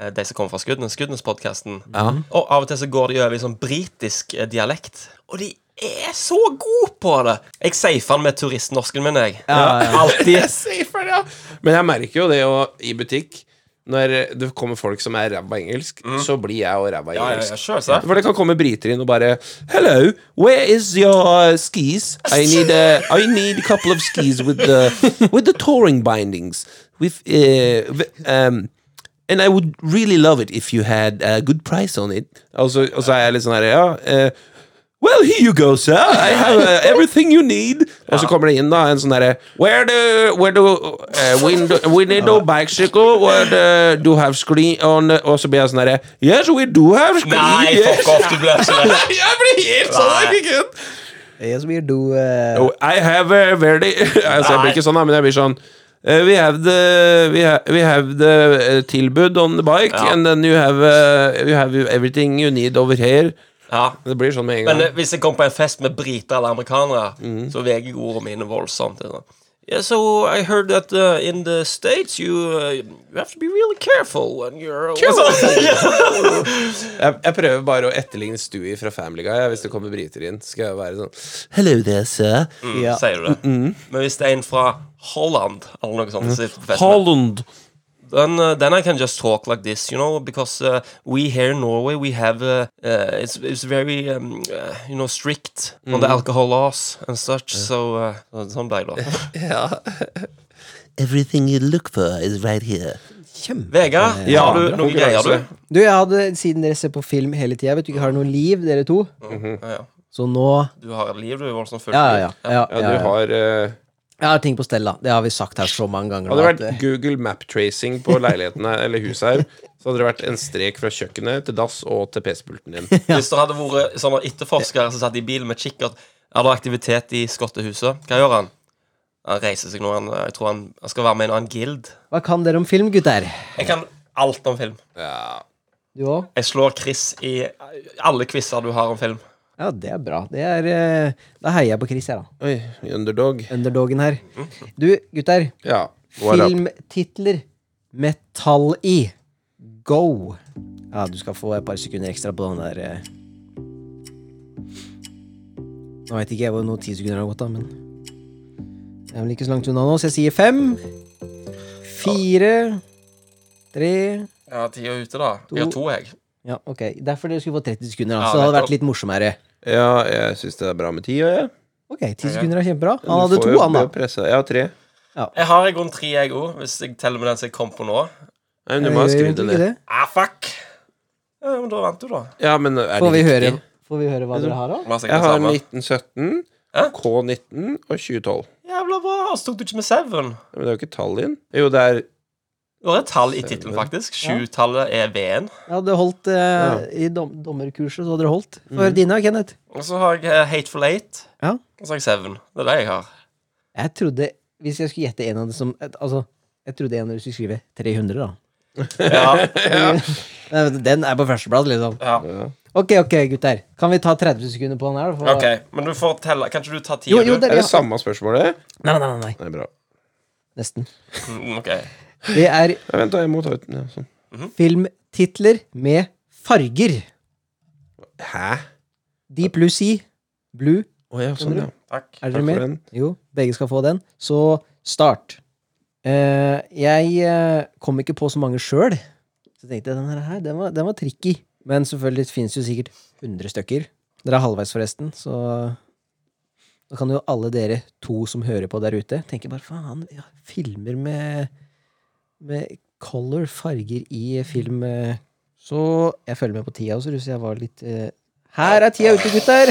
Speaker 1: eh, de som kommer fra Skudenes, Skudenes-podkasten. Og av og til så går de over i sånn britisk eh, dialekt. Og de er så gode på det! Jeg safer den med turistnorsken min, jeg. Alltid.
Speaker 2: Safer, ja. Men jeg merker jo det jo i butikk. Når det kommer folk som er ræva i engelsk, så blir jeg jo ræva i
Speaker 1: Mm. Ja, ja,
Speaker 2: engelsk.
Speaker 1: ja, selvsagt.
Speaker 2: For det kan komme briter inn og bare Hello, where is your skis? I need a, I need a couple of skis with the, with the touring bindings. With, eh, v- um, and I would really love it if you had a good price on it. Og så, og så er jeg litt sånn her, ja eh, Well, here you go, sir. I have uh, everything you need. Og så kommer det inn da en sånn derre Where do, where do uh, window, We need a bicycle. Where do, do have screen on the-" Og så blir jeg sånn derre Yes, we do have screen.
Speaker 1: Nei,
Speaker 2: yes."
Speaker 1: fuck off, du blir ikke det.
Speaker 2: Jeg blir helt sånn
Speaker 1: Nei.
Speaker 2: ikke sant?
Speaker 3: Yes, we do eh,
Speaker 2: Oh, I have a very altså, Jeg blir ikke sånn, da, men jeg blir sånn eh, we have the we have, we have the eh, tilbud on the bike,
Speaker 1: Ja.
Speaker 2: and then you have eh, you have everything you need over here.
Speaker 1: Ja.
Speaker 2: Det blir sånn med en gang.
Speaker 1: Men eh, hvis jeg kommer på en fest med briter eller amerikanere,
Speaker 2: Mhm.
Speaker 1: så veger jeg ordene mine voldsomt. det er sånn. Yeah, so I heard that uh, in the States you, uh, you have to be really careful when you're
Speaker 2: Jeg, jeg prøver bare å etterligne Stewie fra Family Guy. jeg. Hvis det kommer briter inn, skal jeg være sånn Hello there, sir.
Speaker 3: ja.
Speaker 1: Sier du det?
Speaker 2: Mhm.
Speaker 1: Men hvis det er en fra Holland eller noe sånt, så er det på festen.
Speaker 2: Holland.
Speaker 1: then uh, then I can just talk like this, you know, because uh, we here in Norway we have uh, uh, it's it's very um, uh, you know strict on
Speaker 2: Mhm.
Speaker 1: the alcohol laws and such. So uh, uh, sånn ble jeg da.
Speaker 4: Everything you look for is right here.
Speaker 3: Kjempe.
Speaker 1: Vegard,
Speaker 2: Ja,
Speaker 1: har du
Speaker 2: bra
Speaker 1: noen greier,
Speaker 2: konkurranse.
Speaker 1: du?
Speaker 3: Du, jeg hadde, siden dere ser på film hele tida, vet du ikke har noe liv, dere to,
Speaker 1: Ja, ja.
Speaker 3: så nå
Speaker 1: Du har liv, du. Voldsomt fullt
Speaker 3: Ja, ja, ja.
Speaker 1: liv.
Speaker 3: ja,
Speaker 2: Ja, du
Speaker 3: ja, ja.
Speaker 2: har eh,
Speaker 3: Jeg har ting på stell, da. Det har vi sagt her så mange ganger. nå,
Speaker 2: Hadde det
Speaker 3: at, eh,
Speaker 2: vært Google map-tracing på leiligheten her, eller huset her, så hadde det vært en strek fra kjøkkenet til dass og til PC-pulten din.
Speaker 1: Hvis det hadde vært sånne etterforskere som satt i bilen med kikkert Er det aktivitet i skottehuset? Hva gjør han? Han reiser seg nå. Han, jeg tror han, han skal være med i en annen guild.
Speaker 3: Hva kan dere om film, gutter?
Speaker 1: Jeg kan alt om film.
Speaker 2: Ja.
Speaker 3: Du òg?
Speaker 1: Jeg slår Chris i alle quizer du har om film.
Speaker 3: Ja, det er bra. Det er, eh, da heier jeg på Chris, jeg, da.
Speaker 2: Oi, underdog.
Speaker 3: Underdogen her. Du, gutter.
Speaker 2: Ja. Mm. what up?
Speaker 3: Filmtitler med tall i. Go. Ja, du skal få et par sekunder ekstra på den der eh. Nå veit ikke jeg hvor noe ti sekunder har gått, da, men Jeg er vel ikke så langt unna nå, så jeg sier fem. Fire. Tre.
Speaker 1: Ja, tida er ute, da. Jeg har to, jeg.
Speaker 3: Ja, ok. Derfor dere skulle få 30 sekunder, da.
Speaker 1: Ja,
Speaker 3: Så det hadde
Speaker 1: nettopp.
Speaker 3: vært litt morsommere.
Speaker 2: Ja, jeg syns det er bra med tid, og jeg.
Speaker 3: Ok, 10 sekunder er kjempebra. Han
Speaker 2: Du
Speaker 3: hadde
Speaker 2: får
Speaker 3: to,
Speaker 2: jo
Speaker 3: han, da.
Speaker 2: presse- Ja, tre.
Speaker 1: Jeg har i grunnen tre, jeg òg, hvis jeg teller med den som jeg kom på nå.
Speaker 2: Nei, men du må ha
Speaker 3: Gjør
Speaker 2: skrevet det
Speaker 3: egentlig
Speaker 2: ned.
Speaker 3: Eh, ikke det?
Speaker 1: Ah, fuck! Ja, men da vant du, da.
Speaker 2: Ja, men er det
Speaker 3: Får vi, høre,
Speaker 2: riktig?
Speaker 3: får vi høre hva dere har, da?
Speaker 1: Hva sier det
Speaker 2: Jeg har
Speaker 1: samme?
Speaker 2: 1917,
Speaker 1: Hæ?
Speaker 2: K19 og 2012.
Speaker 1: Jævla bra! Så tok du ikke med Seven.
Speaker 2: Men det er jo ikke tall inn. Jo, det er
Speaker 1: Det var et tall i tittelen, faktisk. Sjutallet er V-en.
Speaker 3: Jeg hadde holdt eh, I dom dommerkurset så hadde dere holdt. Få høre dine, Kenneth.
Speaker 1: Og så har jeg eh, Hateful Eight.
Speaker 3: Ja.
Speaker 1: Og så har jeg Seven. Det er det jeg har.
Speaker 3: Jeg trodde, hvis jeg skulle gjette en av det som et- Altså, jeg trodde en av dere skulle skrive 300, da.
Speaker 1: Ja,
Speaker 3: Nei, men Den er på førsteplass, liksom.
Speaker 1: ja.
Speaker 3: Ok, ok, gutter. Kan vi ta 30 sekunder på den her? da, for-
Speaker 1: OK. Men du får telle. Kan ikke du ta ti?
Speaker 3: Jo, jo, det
Speaker 2: Er
Speaker 3: er
Speaker 2: det samme spørsmålet?
Speaker 3: Nei, nei, nei, nei.
Speaker 2: Nei, bra.
Speaker 3: Nesten.
Speaker 1: Mm, OK.
Speaker 3: Det er
Speaker 2: Ja, vent, da. Jeg må ta ut ja, sånn.
Speaker 3: filmtitler med farger.
Speaker 2: Hæ?
Speaker 3: Deep Blue Sea, Blue.
Speaker 2: Å ja, sånn, ja.
Speaker 1: Takk.
Speaker 3: Er dere
Speaker 2: Takk
Speaker 3: med?
Speaker 2: for den.
Speaker 3: Jo, begge skal få den. Så start. Eh, jeg eh, kom ikke på så mange sjøl, så tenkte jeg den her, her, den var, den var tricky. Men selvfølgelig finnes jo sikkert 100 stykker. Dere er halvveis, forresten, så da kan jo alle dere to som hører på der ute, tenke bare faen, ja, filmer med, med color, farger, i film. eh, Så jeg følger med på tida, og så russ jeg var litt eh, Her er tida ute, gutter!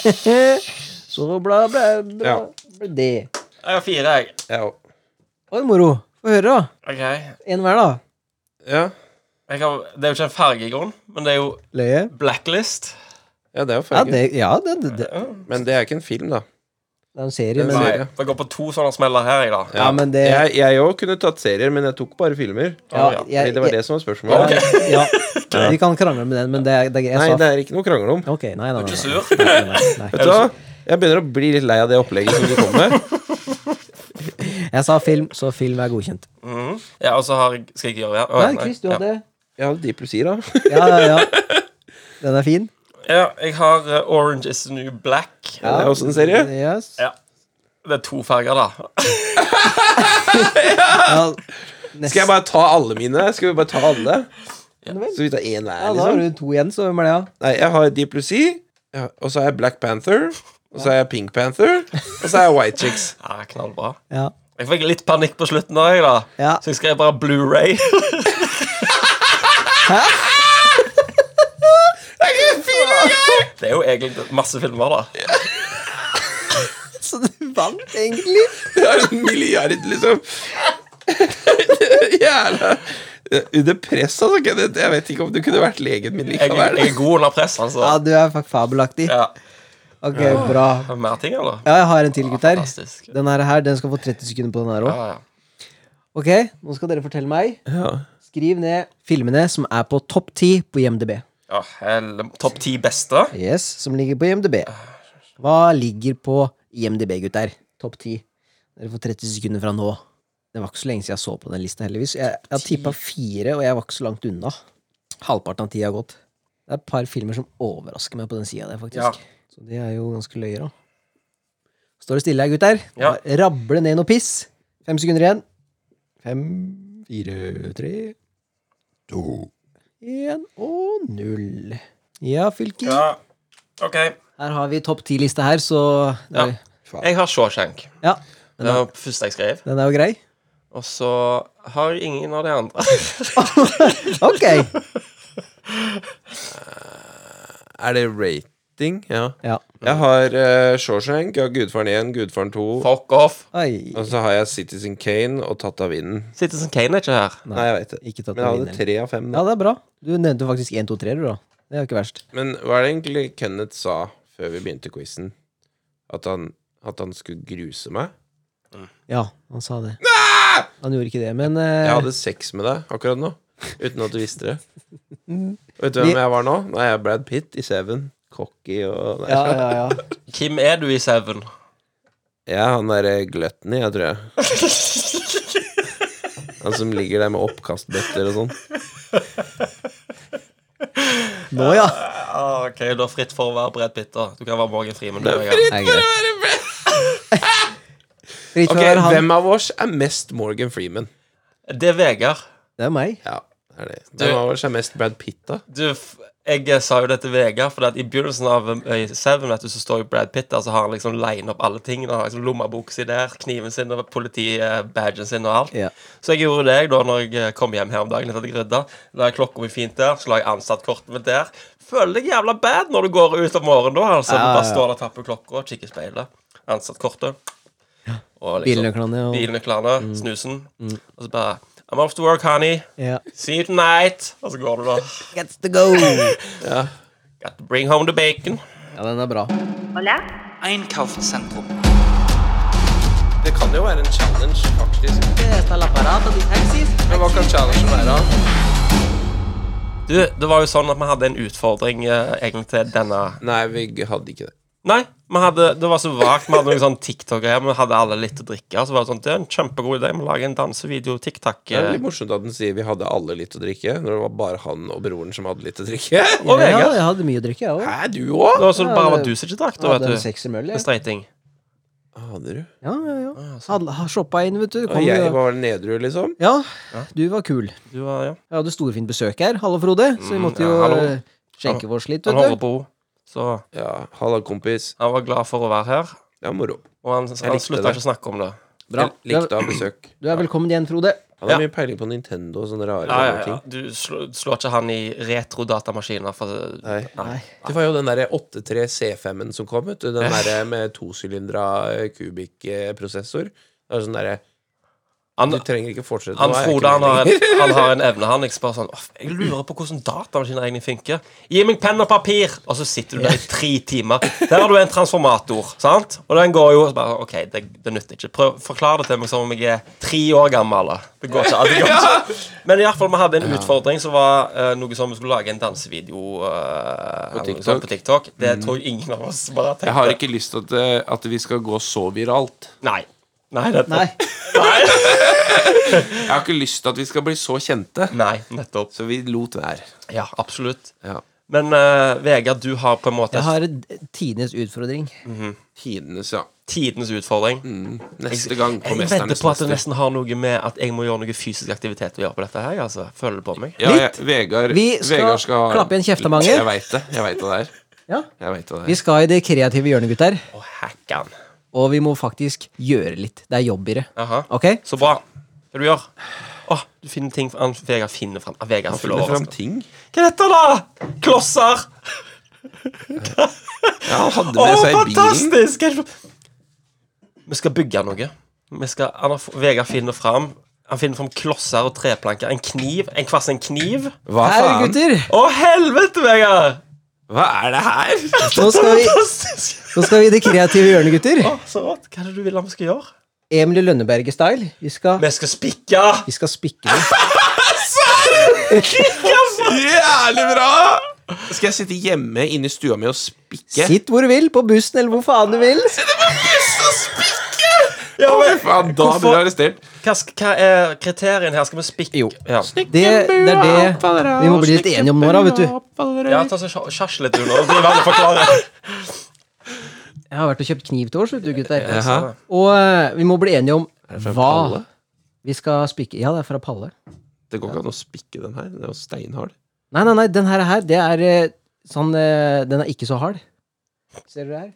Speaker 3: så bla, bla, bla,
Speaker 2: Ja.
Speaker 3: bla det.
Speaker 1: Jeg har fire, jeg.
Speaker 2: Ja.
Speaker 3: Oi, moro. Få høre, da.
Speaker 1: Ok jeg
Speaker 3: En hver, da.
Speaker 2: Ja.
Speaker 1: har, Det er jo ikke en farge i grunnen, men det er jo
Speaker 3: Løye.
Speaker 1: blacklist.
Speaker 2: ja, det er jo
Speaker 3: Ja,
Speaker 2: farge.
Speaker 3: det, ja det, det, det,
Speaker 2: Men det er ikke en film, da.
Speaker 3: det er en serie,
Speaker 2: Det er
Speaker 3: men
Speaker 2: en
Speaker 1: Nei,
Speaker 2: serie.
Speaker 1: for jeg går på to sånne smeller her, jeg, da.
Speaker 3: Ja, men det ja,
Speaker 2: Jeg jeg òg kunne tatt serier, men jeg tok bare filmer.
Speaker 1: ja,
Speaker 3: jeg,
Speaker 2: Fordi det var det som var spørsmålet.
Speaker 3: jeg- ja, Vi kan krangle med den, men det, er- det, er- jeg
Speaker 2: Nei,
Speaker 3: sa
Speaker 2: det er ikke noe å krangle om.
Speaker 3: Ok, nei, nei, nei,
Speaker 1: Ikke
Speaker 3: nei,
Speaker 1: sur.
Speaker 3: nei, nei, nei.
Speaker 2: Vet du hva? Jeg begynner å bli litt lei av det opplegget som du kom med.
Speaker 3: Jeg sa film, så film er godkjent.
Speaker 1: Mhm. Ja, og så har jeg Skal jeg ikke gjøre det? Å,
Speaker 3: Nei, Chris, du
Speaker 1: ja.
Speaker 3: hadde
Speaker 2: Jeg hadde de pluss i, da.
Speaker 3: Ja, ja, ja. Den er fin.
Speaker 1: Ja, jeg har eh, Orange is the New Black.
Speaker 2: Ja, det er også en serie.
Speaker 3: Yes.
Speaker 1: Ja. Det er to farger, da.
Speaker 3: Ja, nest-
Speaker 2: Skal jeg bare ta alle mine? Skal vi bare ta alle?
Speaker 3: Ja vel.
Speaker 2: Så vi tar én hver,
Speaker 3: Ja, da har
Speaker 2: liksom?
Speaker 3: du to igjen, så hvem er det, da?
Speaker 2: Nei, jeg har de pluss i, ja, og så har jeg Black Panther, og så har jeg Pink Panther, og så har jeg White Chicks.
Speaker 1: Ja, knallbra.
Speaker 3: Ja.
Speaker 1: Jeg fikk litt panikk på slutten, da, jeg, da.
Speaker 3: Ja.
Speaker 1: så jeg skrev bare Blu-ray Det er jo egentlig masse filmer, da.
Speaker 3: Så du vant, egentlig?
Speaker 2: Det er en milliard, liksom. Jævla Under press, altså. ikke det- Jeg vet ikke om du kunne vært legen min
Speaker 1: Jeg,
Speaker 2: likevel.
Speaker 1: jeg er god under press,
Speaker 3: Ja,
Speaker 1: altså.
Speaker 3: du er fa- fabelaktig.
Speaker 1: Ja.
Speaker 3: Ok, bra.
Speaker 1: Har vi mer ting, eller?
Speaker 3: Ja, jeg har en til, gutter.
Speaker 1: Fantastisk.
Speaker 3: Den her, her, den skal få 30 sekunder på den her
Speaker 1: Ja,
Speaker 3: òg.
Speaker 1: ja.
Speaker 3: Ok, nå skal dere fortelle meg.
Speaker 2: Ja.
Speaker 3: Skriv ned filmene som er på topp 10 på IMDb.
Speaker 1: ja hell, Topp ti beste?
Speaker 3: Yes, som ligger på IMDb. Hva ligger på IMDb, gutter? Topp 10. Dere får 30 sekunder fra nå. Det var ikke så lenge siden jeg så på den lista, heldigvis. Jeg, jeg har tippa fire, og jeg var ikke så langt unna. Halvparten av tida har gått. Det er et par filmer som overrasker meg på den sida der,
Speaker 1: Ja.
Speaker 3: faktisk. Så det er jo ganske løye, da. Står det stille her, gutter?
Speaker 1: Ja.
Speaker 3: Bare Rable ned noe piss. Fem sekunder igjen. Fem, fire, tre, to, én og null. Ja, fylker.
Speaker 1: Ja. OK.
Speaker 3: Her har vi topp ti-lista her, så
Speaker 1: Ja.
Speaker 3: ja.
Speaker 1: Jeg har Shawshank.
Speaker 3: ja.
Speaker 1: Det var det første jeg skrev.
Speaker 3: Den er jo grei.
Speaker 1: Og så har jeg ingen av de andre.
Speaker 3: Ok!
Speaker 2: Er det rating? Ja.
Speaker 3: Ja.
Speaker 2: Jeg har eh, Shawshank, jeg har Gudfaren 1, Gudfaren 2,
Speaker 1: Fuck off.
Speaker 3: Oi.
Speaker 2: og så har jeg Citizen Kane og Tatt av vinden.
Speaker 1: Citizen Kane er ikke her.
Speaker 2: Nei, jeg vet det.
Speaker 3: Ikke tatt
Speaker 2: Men jeg
Speaker 3: av
Speaker 2: hadde
Speaker 3: vinden.
Speaker 2: tre av fem.
Speaker 3: Ja,
Speaker 2: Da.
Speaker 3: det er bra. Du nevnte faktisk 1, 2, 3, du, da. Det er jo ikke verst.
Speaker 2: Men hva er det egentlig Kenneth sa før vi begynte quizen? At han, at han skulle gruse meg?
Speaker 3: Ja, han sa det. Han gjorde ikke det, men eh,
Speaker 2: Jeg hadde sex med deg akkurat nå, uten at du visste det. Og vet du hvem
Speaker 3: Mm. Vi-
Speaker 2: jeg var nå? Nei, jeg er Brad Pitt i Seven. Cocky og Nei,
Speaker 3: ja, ja, ja.
Speaker 1: Hvem er du i Seven?
Speaker 2: Jeg er han derre gløtten i, jeg tror jeg. Han som ligger der med oppkastbøtter og sånn.
Speaker 3: Nå, ja.
Speaker 1: Ah, ok, Du er fritt for å være Brad Pitt. da Du kan være Morgan Freeman. du, jeg.
Speaker 3: Det er greit. Fritt
Speaker 2: Ok,
Speaker 3: for å være han.
Speaker 2: Hvem av oss er mest Morgan Freeman?
Speaker 1: Det er Vegard.
Speaker 3: Det er meg.
Speaker 2: Ja, det er det. Hvem av oss er mest Brad Pitt, da?
Speaker 1: Du, f- jeg eh, sa jo det til Vegard, for at i begynnelsen av eh, Seven vet du, så står jo Brad Pitt der, så har han liksom line opp alle tingene. Han har liksom Lommeboka si der, kniven sin, og politibadgen sin og alt.
Speaker 3: Ja.
Speaker 1: Så jeg gjorde det jeg da når jeg eh, kom hjem her om dagen etter at jeg rydda. La jeg klokka mi fint der, så la jeg ansattkortet mitt der. Føler deg jævla bad når du går ut om morgenen da. Altså,
Speaker 3: Ja,
Speaker 1: du
Speaker 3: ja,
Speaker 1: bare
Speaker 3: ja.
Speaker 1: står der, tapper klokka, kikker i speilet. Ansattkortet. Og liksom-
Speaker 3: Bilnøklene og Mm.
Speaker 1: Bilnøklene, snusen. Og så bare I'm off to work, honey.
Speaker 3: ja.
Speaker 1: See you tonight. Og så går du, da.
Speaker 3: Gets to go! Ja,
Speaker 1: Got to bring home the bacon.
Speaker 3: den er bra.
Speaker 7: Hola,
Speaker 5: Einkaufszentrum.
Speaker 2: Det kan jo være en challenge, faktisk. Men hva kan challengen være?
Speaker 1: Du, det var jo sånn at vi hadde en utfordring eh, egentlig til denne
Speaker 2: Nei, vi g- hadde ikke det.
Speaker 1: Nei, vi hadde, det var så vagt. Vi hadde noen sånn TikTok-greier. Vi hadde alle litt å drikke. Så var det sånn, det er en kjempegod idé. Vi lager en dansevideo. TikTok.
Speaker 2: Det er
Speaker 1: eh,
Speaker 2: litt morsomt at den sier vi hadde alle litt å drikke, når det var bare han og broren som hadde litt å drikke.
Speaker 1: Og
Speaker 3: Ja,
Speaker 1: Vegard.
Speaker 3: jeg hadde mye å drikke, jeg òg.
Speaker 2: Hæ, du òg?
Speaker 1: Det var så
Speaker 3: Ja,
Speaker 1: bare var
Speaker 3: det-
Speaker 1: du som ikke drakk, da,
Speaker 3: Hadde en
Speaker 1: vet du.
Speaker 3: sekser møll,
Speaker 1: En
Speaker 3: jeg.
Speaker 1: streiting.
Speaker 2: Aner du?
Speaker 3: Ja, ja, ja. Hadde, ha shoppa inn, vet du.
Speaker 2: Og
Speaker 3: Kom,
Speaker 2: jeg
Speaker 3: jo-
Speaker 2: var nedru, liksom?
Speaker 3: ja, du var kul.
Speaker 1: Du var, ja.
Speaker 3: Vi hadde storfint besøk her, hallo Frode, så vi
Speaker 1: Mm,
Speaker 3: måtte
Speaker 1: ja,
Speaker 3: jo
Speaker 1: hallo.
Speaker 3: eh, skjenke vårs litt,
Speaker 1: Han hører
Speaker 3: vet du.
Speaker 1: på henne. Så
Speaker 2: Ja, halla, kompis.
Speaker 1: han var glad for å være her.
Speaker 2: Det er moro.
Speaker 1: Og han, han
Speaker 2: likte
Speaker 1: slutta
Speaker 2: det.
Speaker 1: ikke å snakke om det.
Speaker 3: Bra.
Speaker 2: Jeg likte å ha besøk.
Speaker 3: Du er velkommen igjen, Frode.
Speaker 2: Han har
Speaker 1: Ja.
Speaker 2: mye peiling på Nintendo og sånne rare
Speaker 1: Ja, ja, ja.
Speaker 2: ting.
Speaker 1: Du slår, slår ikke han i retrodatamaskiner for
Speaker 6: Nei.
Speaker 2: Det var jo den derre 83 C5-en som kom, vet du. Den derre med tosylindra eh, kubikkprosessor. Det er sånn derre
Speaker 1: Han,
Speaker 2: Du trenger ikke fortsette.
Speaker 1: han
Speaker 2: nå er jeg
Speaker 1: Frode
Speaker 2: ikke
Speaker 1: han
Speaker 2: med
Speaker 1: har,
Speaker 2: lenger.
Speaker 1: en, han har en evne, han. Jeg spør sånn «Åh, Jeg lurer på hvordan datamaskiner egentlig funker. Gi meg penn og papir! Og så sitter du der i tre timer. Der har du en transformator, sant? Og den går jo så bare OK, det, det nytter ikke. Prøv, Forklar det til meg som om jeg er tre år gammel. da. Det går ikke. Det går ikke. Men i hvert fall, vi hadde en utfordring som var eh, noe som vi skulle lage en dansevideo eh, eller noe sånt på TikTok. Det tror jeg ingen av oss bare tenkte.
Speaker 2: Mm. Jeg har ikke lyst til at, eh, at vi skal gå så viralt.
Speaker 1: Nei. Nei, nettopp.
Speaker 3: Nei.
Speaker 2: Jeg har ikke lyst til at vi skal bli så kjente.
Speaker 1: Nei, nettopp.
Speaker 2: Så vi lot være.
Speaker 1: Ja, absolutt.
Speaker 2: Ja.
Speaker 1: Men eh, Vegard, du har på en måte
Speaker 3: Jeg har tidenes utfordring.
Speaker 2: Tidenes, ja.
Speaker 1: tidenes utfordring.
Speaker 2: Neste gang på
Speaker 1: Mm. Jeg vedder
Speaker 2: Mesternes
Speaker 1: på at det
Speaker 2: mester.
Speaker 1: nesten har noe med at jeg må gjøre noe fysisk aktivitet å gjøre på dette her. altså. Føler det på meg.
Speaker 2: Ja, jeg,
Speaker 3: Litt.
Speaker 2: Vegard,
Speaker 3: Vi skal
Speaker 2: Vegard skal ha-
Speaker 3: klappe igjen kjeftemange.
Speaker 2: Jeg veit det. Jeg vet hva det er.
Speaker 3: Ja.
Speaker 2: Jeg vet hva det
Speaker 3: Vi
Speaker 2: er.
Speaker 3: skal i det kreative hjørnet, gutter.
Speaker 1: Å, hackan.
Speaker 3: Og vi må faktisk gjøre litt. Det er jobb i det.
Speaker 1: Aha.
Speaker 3: Ok?
Speaker 1: Så bra. Hva du gjør Å, du finner ting han, Vegard finner fram. Ah, Vegard
Speaker 2: Han
Speaker 1: full
Speaker 2: finner fram
Speaker 1: overraskelse.
Speaker 2: ting.
Speaker 1: Hva er dette, da? Klosser!
Speaker 2: Ja, han hadde
Speaker 1: Å,
Speaker 2: med seg i bilen.
Speaker 1: fantastisk! Hva er det for- Vi skal bygge noe. Vi skal, han har, f- Vegard finner fram Han finner fram klosser og treplanker. En kniv. En kvass en kniv.
Speaker 2: Hva
Speaker 3: Her,
Speaker 2: faen?
Speaker 3: gutter!
Speaker 1: Å, helvete, Vegard!
Speaker 2: Hva er det her?
Speaker 3: Nå skal, vi,
Speaker 1: Fantastisk!
Speaker 3: nå skal vi i det kreative hjørnet, gutter.
Speaker 1: Å, så rått. Hva er det du vil han skal gjøre?
Speaker 3: Emilie Lønneberg-style. Vi, skal-
Speaker 1: Vi skal spikke!
Speaker 3: vi skal spikke det.
Speaker 2: Jævlig bra! Skal jeg sitte hjemme inne i stua mi og spikke?
Speaker 3: Sitt hvor du vil, på bussen eller hvor faen du vil.
Speaker 1: Ja,
Speaker 2: Fy
Speaker 1: men,
Speaker 2: faen, da
Speaker 1: Hvorfor-
Speaker 2: blir jeg arrestert.
Speaker 1: hva, sk- hva er kriterien her? Skal vi spikke
Speaker 3: Jo.
Speaker 1: Ja,
Speaker 3: Det, det er det vi må bli litt enige om nå, da, vet du.
Speaker 1: ja ta så sja- sjasj litt, du, nå. Du kan forklare.
Speaker 3: Jeg har vært og kjøpt kniv til oss, vet du, gutter.
Speaker 2: Jaha.
Speaker 3: Og eh, vi må bli enige om
Speaker 2: fra
Speaker 3: hva
Speaker 2: Palle?
Speaker 3: vi skal spikke. Ja, det er fra Palle.
Speaker 2: Det går ikke an å spikke den her. Den er jo steinhard.
Speaker 3: Nei, nei, nei, den her, her det er eh, sånn eh, Den er ikke så hard. Ser du det her?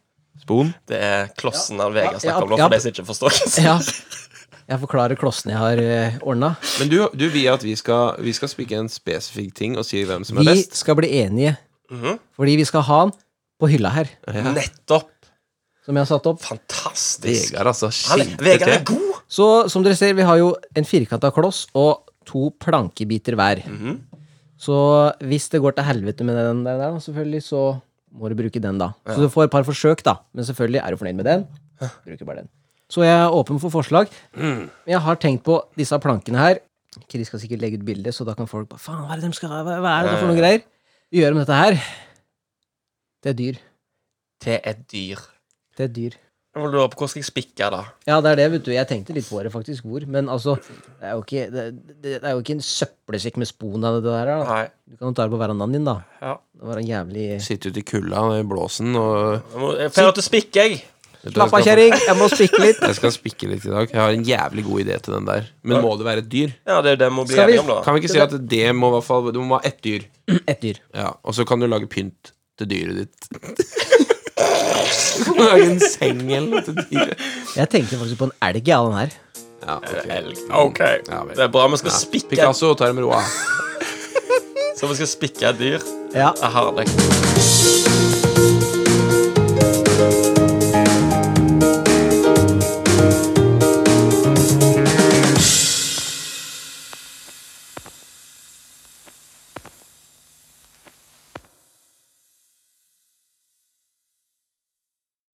Speaker 2: Spon.
Speaker 1: Det er klossen han
Speaker 3: Ja,
Speaker 1: Vegard snakker om nå,
Speaker 3: ja.
Speaker 1: for de som ikke forstår.
Speaker 3: Ja. Jeg forklarer klossene jeg har uh, ordna.
Speaker 2: Men du, du vil at vi skal, vi skal spikke en spesifikk ting og si hvem som er
Speaker 3: Vi
Speaker 2: best?
Speaker 3: skal bli enige,
Speaker 1: Mhm.
Speaker 3: fordi vi skal ha den på hylla her,
Speaker 1: Nettopp.
Speaker 3: som jeg har satt opp.
Speaker 1: Fantastisk.
Speaker 2: Vegard, altså.
Speaker 1: Han,
Speaker 2: skinte
Speaker 1: Vegard er
Speaker 2: til.
Speaker 1: god.
Speaker 3: Så som dere ser, vi har jo en firkanta kloss og to plankebiter hver. Så hvis det går til helvete med den der, da, selvfølgelig, så må du bruke den, da. Så du får et par forsøk, da. Men selvfølgelig er du fornøyd med den. Bruker bare den. Så jeg er åpen for forslag. Men jeg har tenkt på disse plankene her. Chris skal sikkert legge ut bilde, så da kan folk bare Faen, hva er det de skal ha? Hva hva er det for noen greier? Vi gjør om dette her. Det er dyr.
Speaker 1: Det er dyr.
Speaker 3: Det er dyr.
Speaker 1: Jeg lurer på hvor skal jeg spikke, da.
Speaker 3: Ja, det er det, vet du. Jeg tenkte litt på det, faktisk, hvor. Men altså, det er jo ikke, det, det det er jo ikke en søppelsekk med spon av det der. Da.
Speaker 1: Nei.
Speaker 3: Du kan jo ta det på verandaen din, da.
Speaker 1: Ja.
Speaker 3: Det var en jævlig
Speaker 2: Sitter ute i kulda i blåsen og
Speaker 1: Jeg må- Jeg får til å spikke, jeg.
Speaker 3: Slapp av, kjerring! Jeg må spikke litt.
Speaker 2: Jeg skal spikke litt i dag. Jeg har en jævlig god idé til den der. Men må det være et dyr?
Speaker 1: Ja, det er jo det vi må bli
Speaker 3: Skal vi-
Speaker 1: enige om, da.
Speaker 2: Kan vi ikke si at det må i hvert fall Du må ha ett dyr.
Speaker 3: Et dyr.
Speaker 2: Ja, Og så kan du lage pynt til dyret ditt. Du kan lage en seng eller noe til dyret.
Speaker 3: Jeg tenkte faktisk på en elg, jeg, av den her.
Speaker 2: Ja, ok.
Speaker 1: OK.
Speaker 2: Ja, vel.
Speaker 1: Det er bra vi skal
Speaker 2: Ja.
Speaker 1: spikke,
Speaker 2: Picasso tar med roa.
Speaker 1: så vi skal spikke et dyr.
Speaker 3: Ja.
Speaker 1: Det er herlig.